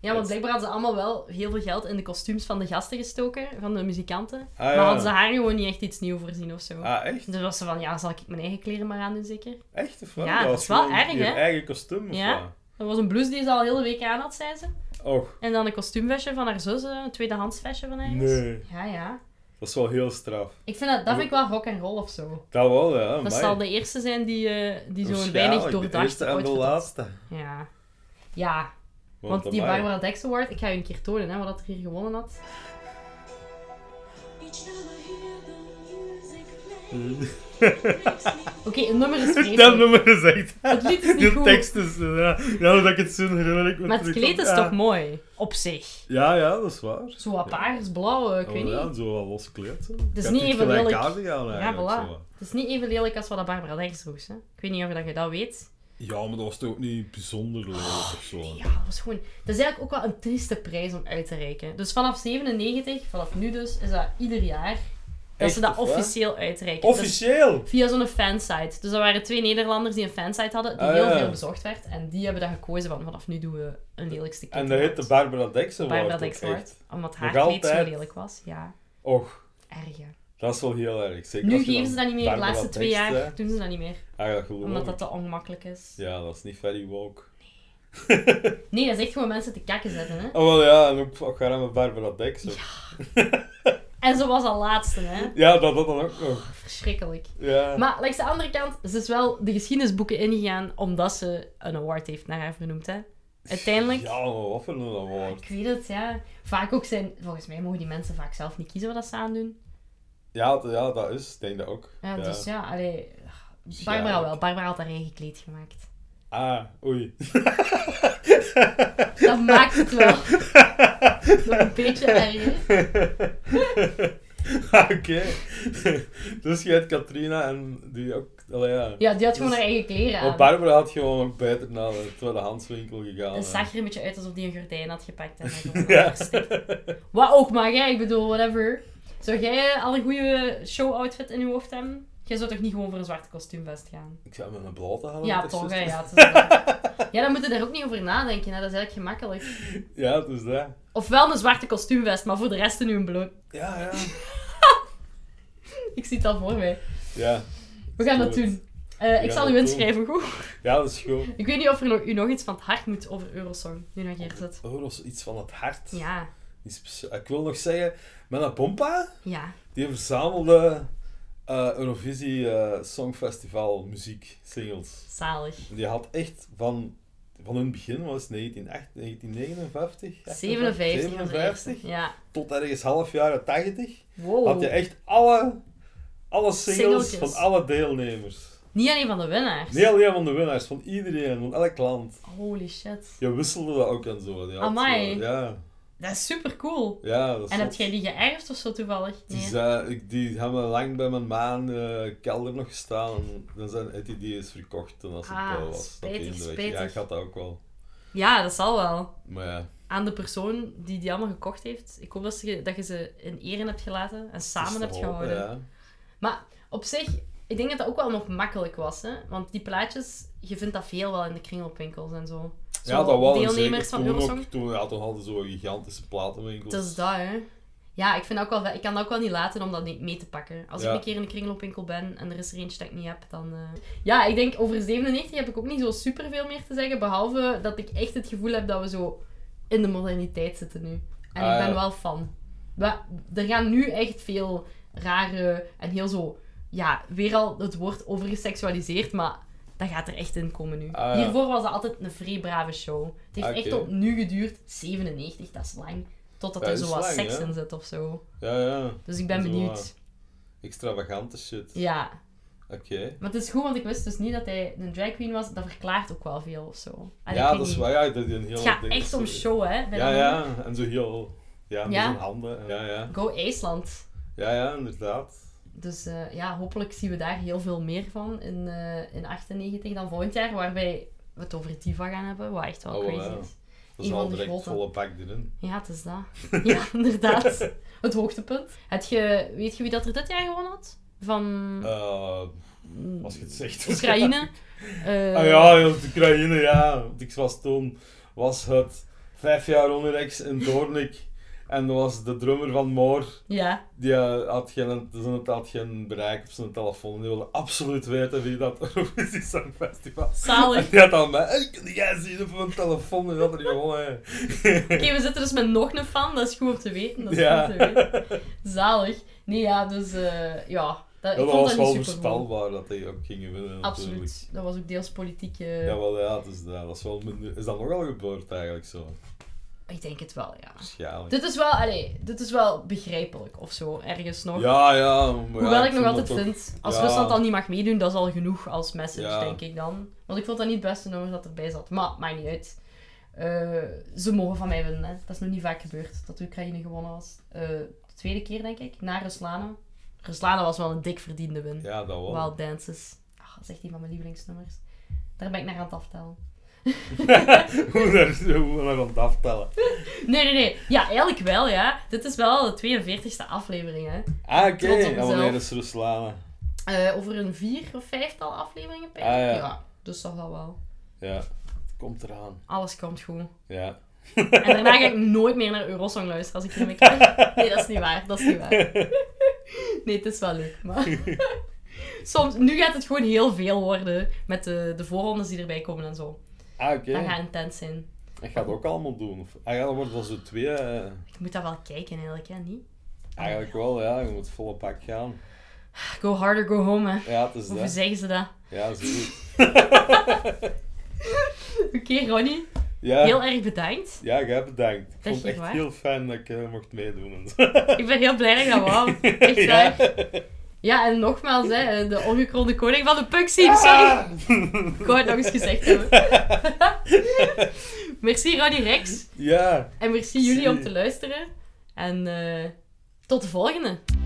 [SPEAKER 1] want blijkbaar hadden ze allemaal wel heel veel geld in de kostuums van de gasten gestoken, van de muzikanten. maar
[SPEAKER 2] Ah, ja.
[SPEAKER 1] hadden ze haar gewoon niet echt iets nieuw voorzien of zo.
[SPEAKER 2] Ah, echt?
[SPEAKER 1] Dus was ze van, ja, zal ik mijn eigen kleren maar aandoen zeker?
[SPEAKER 2] Echt of wat?
[SPEAKER 1] Ja, dat is
[SPEAKER 2] was gewoon
[SPEAKER 1] wel erg,
[SPEAKER 2] je
[SPEAKER 1] hè?
[SPEAKER 2] eigen kostuum of
[SPEAKER 1] Ja. Dat was een blouse die ze al heel de week aan had, zei ze.
[SPEAKER 2] wat? Och,
[SPEAKER 1] En dan een kostuumvestje van haar zus, eh, een tweedehands vestje van haar.
[SPEAKER 2] nee.
[SPEAKER 1] Ja, ja.
[SPEAKER 2] Dat is wel heel straf.
[SPEAKER 1] Ik vind dat, dat vind ik wel rock en roll of zo.
[SPEAKER 2] Dat wel, ja.
[SPEAKER 1] Dat
[SPEAKER 2] amai.
[SPEAKER 1] zal de eerste zijn die, eh, die zo'n
[SPEAKER 2] Waarschijnlijk
[SPEAKER 1] weinig
[SPEAKER 2] De
[SPEAKER 1] doordacht
[SPEAKER 2] eerste en de
[SPEAKER 1] outfit had.
[SPEAKER 2] laatste.
[SPEAKER 1] Ja. Ja, want, die
[SPEAKER 2] amai.
[SPEAKER 1] Barbara Dex Award, ik ga je een keer tonen hè, wat dat er hier gewonnen had. Oké, een nummer is
[SPEAKER 2] Dat
[SPEAKER 1] vreselijk.
[SPEAKER 2] nummer is echt...
[SPEAKER 1] Het lied is niet
[SPEAKER 2] De
[SPEAKER 1] goed.
[SPEAKER 2] tekst is... eh, Ja, ja, dat ik het zo herinner ik me
[SPEAKER 1] Maar het
[SPEAKER 2] terug.
[SPEAKER 1] kleed is
[SPEAKER 2] Ja.
[SPEAKER 1] toch mooi? Op zich.
[SPEAKER 2] Ja, ja, dat is waar.
[SPEAKER 1] Zo wat paarsblauw, eh, ik weet
[SPEAKER 2] Oh, ja,
[SPEAKER 1] niet.
[SPEAKER 2] zo wel los gekleed. Zo.
[SPEAKER 1] is
[SPEAKER 2] Ik
[SPEAKER 1] niet
[SPEAKER 2] had
[SPEAKER 1] even
[SPEAKER 2] iets
[SPEAKER 1] lelijk.
[SPEAKER 2] gelijkaardig aan
[SPEAKER 1] Ja,
[SPEAKER 2] eigenlijk.
[SPEAKER 1] voilà.
[SPEAKER 2] zo.
[SPEAKER 1] Het is niet even lelijk als wat dat Barbara Dex droeg. Hè. Ik weet niet of je dat, je dat weet.
[SPEAKER 2] Ja, maar dat was toch ook niet bijzonder lelijk of zo.
[SPEAKER 1] Ja, dat was gewoon... Dat is eigenlijk ook wel een trieste prijs om uit te reiken. Dus vanaf 97, vanaf nu dus, is dat ieder jaar dat
[SPEAKER 2] Echt,
[SPEAKER 1] ze dat
[SPEAKER 2] of wat?
[SPEAKER 1] officieel uitreiken. Dus-
[SPEAKER 2] Officieel!
[SPEAKER 1] Via zo'n fansite. Dus dat waren twee Nederlanders die een fansite hadden, die
[SPEAKER 2] Ah,
[SPEAKER 1] heel
[SPEAKER 2] ja.
[SPEAKER 1] veel bezocht werd. En die hebben daar gekozen van, vanaf nu doen we een lelijkste kind.
[SPEAKER 2] En dat heette Barbara Dex Award
[SPEAKER 1] Barbara
[SPEAKER 2] ook
[SPEAKER 1] Dex
[SPEAKER 2] echt.
[SPEAKER 1] Award. Omdat haar
[SPEAKER 2] Nog
[SPEAKER 1] kleed zo
[SPEAKER 2] altijd.
[SPEAKER 1] lelijk was. Ja,
[SPEAKER 2] Och,
[SPEAKER 1] erg hè.
[SPEAKER 2] dat is wel heel erg. Zeker
[SPEAKER 1] Nu
[SPEAKER 2] als je
[SPEAKER 1] geven
[SPEAKER 2] dan
[SPEAKER 1] ze dat niet meer. De
[SPEAKER 2] Barbara
[SPEAKER 1] laatste twee
[SPEAKER 2] Dex,
[SPEAKER 1] jaar
[SPEAKER 2] hè.
[SPEAKER 1] doen ze dat niet meer.
[SPEAKER 2] Ah, dat geloof
[SPEAKER 1] Omdat
[SPEAKER 2] ik.
[SPEAKER 1] dat te ongemakkelijk is.
[SPEAKER 2] Ja, dat is niet very woke.
[SPEAKER 1] Nee, dat is echt gewoon mensen te kakken zetten hè.
[SPEAKER 2] Oh, wel ja, en ook, ook gaan met Barbara Dex. ook. Ja,
[SPEAKER 1] En zo was al laatste hè.
[SPEAKER 2] dat, dat dan ook nog.
[SPEAKER 1] Verschrikkelijk.
[SPEAKER 2] Ja.
[SPEAKER 1] Maar langs de andere kant, ze is wel de geschiedenisboeken ingegaan omdat ze een award heeft naar haar vernoemd hè. Uiteindelijk.
[SPEAKER 2] Ja, maar wat voor een award.
[SPEAKER 1] Ik weet het, ja. Vaak ook zijn... Volgens mij mogen die mensen vaak zelf niet kiezen wat dat ze aandoen.
[SPEAKER 2] Ja, d- ja, dat is, ik denk dat ook.
[SPEAKER 1] Ja, Dus ja, allee... Barbara
[SPEAKER 2] Ja.
[SPEAKER 1] wel. Barbara had haar eigen kleed gemaakt.
[SPEAKER 2] Ah, oei.
[SPEAKER 1] Dat maakt het wel nog een beetje erger.
[SPEAKER 2] Ah, Oké. dus je hebt Katrina en die ook. Allee, ja.
[SPEAKER 1] Ja, die had gewoon
[SPEAKER 2] Dus-
[SPEAKER 1] haar eigen kleren
[SPEAKER 2] Maar
[SPEAKER 1] aan.
[SPEAKER 2] Barbara had gewoon ook beter naar de tweedehandswinkel gegaan.
[SPEAKER 1] Het
[SPEAKER 2] hè.
[SPEAKER 1] zag er een beetje uit alsof die een gordijn had gepakt. En haar gewoon
[SPEAKER 2] Eh. Ja.
[SPEAKER 1] gestikt. Wat ook mag, hè. Ik bedoel, whatever. Zou jij al een goede show-outfit in je hoofd hebben? Jij zou toch niet gewoon voor een zwarte kostuumvest gaan?
[SPEAKER 2] Ik zou met een blote halen.
[SPEAKER 1] Ja,
[SPEAKER 2] Oh, dat is
[SPEAKER 1] toch, hè.
[SPEAKER 2] juist.
[SPEAKER 1] Ja, het is waar. ja, dan moet je daar ook niet over nadenken. Hè. Dat is eigenlijk gemakkelijk.
[SPEAKER 2] Ja, dus dat.
[SPEAKER 1] Ofwel een zwarte kostuumvest, maar voor de rest nu een bloot.
[SPEAKER 2] Ja, ja.
[SPEAKER 1] Ik zie het al voor mij.
[SPEAKER 2] Ja.
[SPEAKER 1] We gaan dat
[SPEAKER 2] Goed.
[SPEAKER 1] doen. Eh, ik
[SPEAKER 2] Ja,
[SPEAKER 1] zal u
[SPEAKER 2] cool.
[SPEAKER 1] inschrijven, goed?
[SPEAKER 2] Ja, dat is goed.
[SPEAKER 1] Ik weet niet of er nog, u nog iets van het hart moet over Eurosong, nu nog hier zit.
[SPEAKER 2] Oh, dat is iets van het hart.
[SPEAKER 1] Ja,
[SPEAKER 2] Iets speci- ik wil nog zeggen, Menna Pompa,
[SPEAKER 1] ja.
[SPEAKER 2] die verzamelde eh, Eurovisie eh, Songfestival muziek, singles.
[SPEAKER 1] Zalig.
[SPEAKER 2] Die had echt van, van hun begin, was het 1908, 1959?
[SPEAKER 1] 57. was de eerste.
[SPEAKER 2] 57,
[SPEAKER 1] Ja.
[SPEAKER 2] tot ergens half jaren 80,
[SPEAKER 1] Wow.
[SPEAKER 2] had je echt alle, alle singles
[SPEAKER 1] Singeltjes.
[SPEAKER 2] van alle deelnemers.
[SPEAKER 1] Niet alleen van de winnaars.
[SPEAKER 2] Nee, alleen van de winnaars, van iedereen, van elk land.
[SPEAKER 1] Holy shit.
[SPEAKER 2] Je wisselde dat ook en zo. Ja,
[SPEAKER 1] Amai.
[SPEAKER 2] Ja,
[SPEAKER 1] Dat is super cool.
[SPEAKER 2] ja, dat is
[SPEAKER 1] En heb
[SPEAKER 2] zot. eh,
[SPEAKER 1] jij die geërfd of zo toevallig?
[SPEAKER 2] Die,
[SPEAKER 1] Nee.
[SPEAKER 2] zijn- ik, die hebben lang bij mijn maan eh, kelder nog gestaan. En Dan zijn heeft die die is verkocht toen als ik
[SPEAKER 1] Ah,
[SPEAKER 2] eh, was.
[SPEAKER 1] spijtig,
[SPEAKER 2] dat eende
[SPEAKER 1] spijtig.
[SPEAKER 2] Ja, ik had dat ook wel.
[SPEAKER 1] Ja, dat zal wel.
[SPEAKER 2] Maar ja,
[SPEAKER 1] Aan de persoon die die allemaal gekocht heeft. Ik hoop dat ze, dat je ze in ere hebt gelaten en
[SPEAKER 2] het
[SPEAKER 1] samen
[SPEAKER 2] is
[SPEAKER 1] hebt
[SPEAKER 2] te hopen,
[SPEAKER 1] gehouden.
[SPEAKER 2] Ja.
[SPEAKER 1] Maar op zich, ik denk dat dat ook wel nog makkelijk was. Hè? Want die plaatjes, je vindt dat veel wel in de kringelwinkels en zo. Zo
[SPEAKER 2] ja, dat wel. en
[SPEAKER 1] Deelnemers
[SPEAKER 2] zeker
[SPEAKER 1] van
[SPEAKER 2] toen ook-
[SPEAKER 1] Eurosong.
[SPEAKER 2] Toen, ja, toen hadden ze zo'n gigantische platenwinkels.
[SPEAKER 1] Dat is dat, hè. Ja, ik, vind ook wel, ik kan dat ook wel niet laten om dat niet mee te pakken. Als
[SPEAKER 2] Ja.
[SPEAKER 1] ik een keer in de kringloopwinkel ben en er is er eentje dat ik niet heb, dan... eh. Ja, ik denk over 97 heb ik ook niet zo superveel meer te zeggen, behalve dat ik echt het gevoel heb dat we zo in de moderniteit zitten nu. En
[SPEAKER 2] Ah,
[SPEAKER 1] ik ben
[SPEAKER 2] ja.
[SPEAKER 1] wel fan. We- er gaan nu echt veel rare en heel zo... Ja, weer al het woord overgeseksualiseerd, maar dat gaat er echt in komen nu.
[SPEAKER 2] Ah, ja.
[SPEAKER 1] Hiervoor was dat altijd een vrij brave show. Het heeft
[SPEAKER 2] Ah, oké.
[SPEAKER 1] echt tot nu geduurd, 97, dat is lang. Totdat
[SPEAKER 2] Ja,
[SPEAKER 1] er
[SPEAKER 2] dat
[SPEAKER 1] zo
[SPEAKER 2] is
[SPEAKER 1] wat
[SPEAKER 2] lang,
[SPEAKER 1] seks
[SPEAKER 2] hè?
[SPEAKER 1] in zit of zo.
[SPEAKER 2] Ja, ja.
[SPEAKER 1] Dus ik ben
[SPEAKER 2] Dat is wel
[SPEAKER 1] benieuwd.
[SPEAKER 2] Extravagante shit.
[SPEAKER 1] Ja.
[SPEAKER 2] Oké.
[SPEAKER 1] Maar het is goed, want ik wist dus niet dat hij een drag queen was. Dat verklaart ook wel veel of zo. En ik
[SPEAKER 2] Ja,
[SPEAKER 1] weet
[SPEAKER 2] dat is
[SPEAKER 1] niet.
[SPEAKER 2] waar. Ja, dat is een heel
[SPEAKER 1] Het gaat
[SPEAKER 2] ding.
[SPEAKER 1] echt om
[SPEAKER 2] Zo-
[SPEAKER 1] show, hè? bij
[SPEAKER 2] Ja,
[SPEAKER 1] dat
[SPEAKER 2] ja. En zo heel... Ja, met
[SPEAKER 1] Ja.
[SPEAKER 2] zijn handen. Ja, ja.
[SPEAKER 1] nummer. Go IJsland.
[SPEAKER 2] Ja, ja, inderdaad.
[SPEAKER 1] Dus eh, ja, hopelijk zien we daar heel veel meer van in, eh, in 98 dan volgend jaar. Waarbij we het over Diva gaan hebben, wat echt wel
[SPEAKER 2] Oh,
[SPEAKER 1] crazy
[SPEAKER 2] ja.
[SPEAKER 1] is.
[SPEAKER 2] Dat
[SPEAKER 1] Een
[SPEAKER 2] is
[SPEAKER 1] van
[SPEAKER 2] al
[SPEAKER 1] de
[SPEAKER 2] direct
[SPEAKER 1] grote.
[SPEAKER 2] volle bak erin.
[SPEAKER 1] Ja, het is dat. Ja, inderdaad. Het hoogtepunt. Heb je, weet je wie dat er dit jaar gewonnen had? Van
[SPEAKER 2] Eh, als je het zegt.
[SPEAKER 1] Oekraïne. Eh,
[SPEAKER 2] Ah ja, ja, de Oekraïne, ja. Want ik was toen, was het vijf jaar onderrechts in Doornik. En dat was de drummer van Moor,
[SPEAKER 1] ja.
[SPEAKER 2] die eh, had geen, zijn- had geen bereik op zijn telefoon. Die wilde absoluut weten wie dat Eurovisie Songfestival was.
[SPEAKER 1] Zalig.
[SPEAKER 2] En die had aan mij, hey, kun jij zien op mijn telefoon? En dat er gewonnen.
[SPEAKER 1] Oké, we zitten dus met nog een fan. Dat is goed om te weten. Dat is
[SPEAKER 2] Ja.
[SPEAKER 1] goed om te weten. Zalig. Nee, ja, dus eh, ja. Dat,
[SPEAKER 2] Ja,
[SPEAKER 1] ik
[SPEAKER 2] dat
[SPEAKER 1] vond
[SPEAKER 2] was
[SPEAKER 1] dat
[SPEAKER 2] wel
[SPEAKER 1] niet super goed.
[SPEAKER 2] voorspelbaar dat hij ook ging winnen. natuurlijk.
[SPEAKER 1] Absoluut. Dat was ook deels politiek. eh,
[SPEAKER 2] Jawel, ja, dus, dat dat is wel minder... Is dat nogal gebeurd eigenlijk zo?
[SPEAKER 1] Ik denk het wel, ja.
[SPEAKER 2] Waarschijnlijk.
[SPEAKER 1] Dit is wel, allee, dit is wel begrijpelijk of zo, ergens nog.
[SPEAKER 2] Ja, ja. maar ja,
[SPEAKER 1] Hoewel ik, nog
[SPEAKER 2] vind
[SPEAKER 1] altijd
[SPEAKER 2] dat ook-
[SPEAKER 1] vind, als
[SPEAKER 2] ja.
[SPEAKER 1] Rusland al niet mag meedoen, dat is al genoeg als message,
[SPEAKER 2] Ja.
[SPEAKER 1] denk ik dan. Want ik vond dat niet het beste nummer dat erbij zat. Maar, maakt niet uit. Eh, ze mogen van mij winnen, hè. Dat is nog niet vaak gebeurd, dat Oekraïne gewonnen was. Eh, de tweede keer, denk ik, na Ruslana. Ruslana was wel een dik verdiende win.
[SPEAKER 2] Ja, dat wel.
[SPEAKER 1] Wild Dances. Ah, dat is echt een van mijn lievelingsnummers. Daar ben ik naar aan het aftellen.
[SPEAKER 2] hoe daar- hoe we dat aan het aftellen.
[SPEAKER 1] Nee, nee, nee. Ja, eigenlijk wel, ja. Dit is wel de 42e aflevering, hè.
[SPEAKER 2] Ah, oké.
[SPEAKER 1] Trots op
[SPEAKER 2] En wanneer
[SPEAKER 1] mezelf.
[SPEAKER 2] is Ruslana?
[SPEAKER 1] Eh, over een vier of vijftal afleveringen, per.
[SPEAKER 2] Ah, ja.
[SPEAKER 1] dus dat zal wel.
[SPEAKER 2] Ja, het komt eraan.
[SPEAKER 1] Alles komt goed.
[SPEAKER 2] Ja.
[SPEAKER 1] En daarna ga ik nooit meer naar Eurosong luisteren als ik ermee krijg. Nee, dat is niet waar. Dat is niet waar. Nee, het is wel leuk, maar... Soms, nu gaat het gewoon heel veel worden met de, de voorrondes die erbij komen en zo.
[SPEAKER 2] Ah, oké.
[SPEAKER 1] Dat gaat intens zijn.
[SPEAKER 2] Hij gaat het ook allemaal doen. Of... Ah, ja, dat wordt wel zo twee. eh,
[SPEAKER 1] Ik moet dat wel kijken eigenlijk, ja, niet?
[SPEAKER 2] Eigenlijk wel, ja. Je moet volle pak gaan.
[SPEAKER 1] Go harder, go home, hè.
[SPEAKER 2] Ja, het is
[SPEAKER 1] Hoe
[SPEAKER 2] dat.
[SPEAKER 1] zeggen ze dat?
[SPEAKER 2] Ja, zo goed.
[SPEAKER 1] Oké, Ronnie.
[SPEAKER 2] Ja.
[SPEAKER 1] Heel erg bedankt.
[SPEAKER 2] Ja, jij bedankt. Ik
[SPEAKER 1] Dat
[SPEAKER 2] vond
[SPEAKER 1] is
[SPEAKER 2] het echt
[SPEAKER 1] waar.
[SPEAKER 2] heel fijn dat ik eh, mocht meedoen. en zo.
[SPEAKER 1] Ik ben heel blij dat ik dat wou. Echt
[SPEAKER 2] Ja.
[SPEAKER 1] waar. Ja, en nogmaals, hè, eh, de ongekroonde koning van de Puxie. Sorry. Ik wou het nog eens gezegd hebben. merci Ronnie Rex.
[SPEAKER 2] Ja.
[SPEAKER 1] En merci jullie om
[SPEAKER 2] Zie.
[SPEAKER 1] te luisteren. En eh, tot de volgende.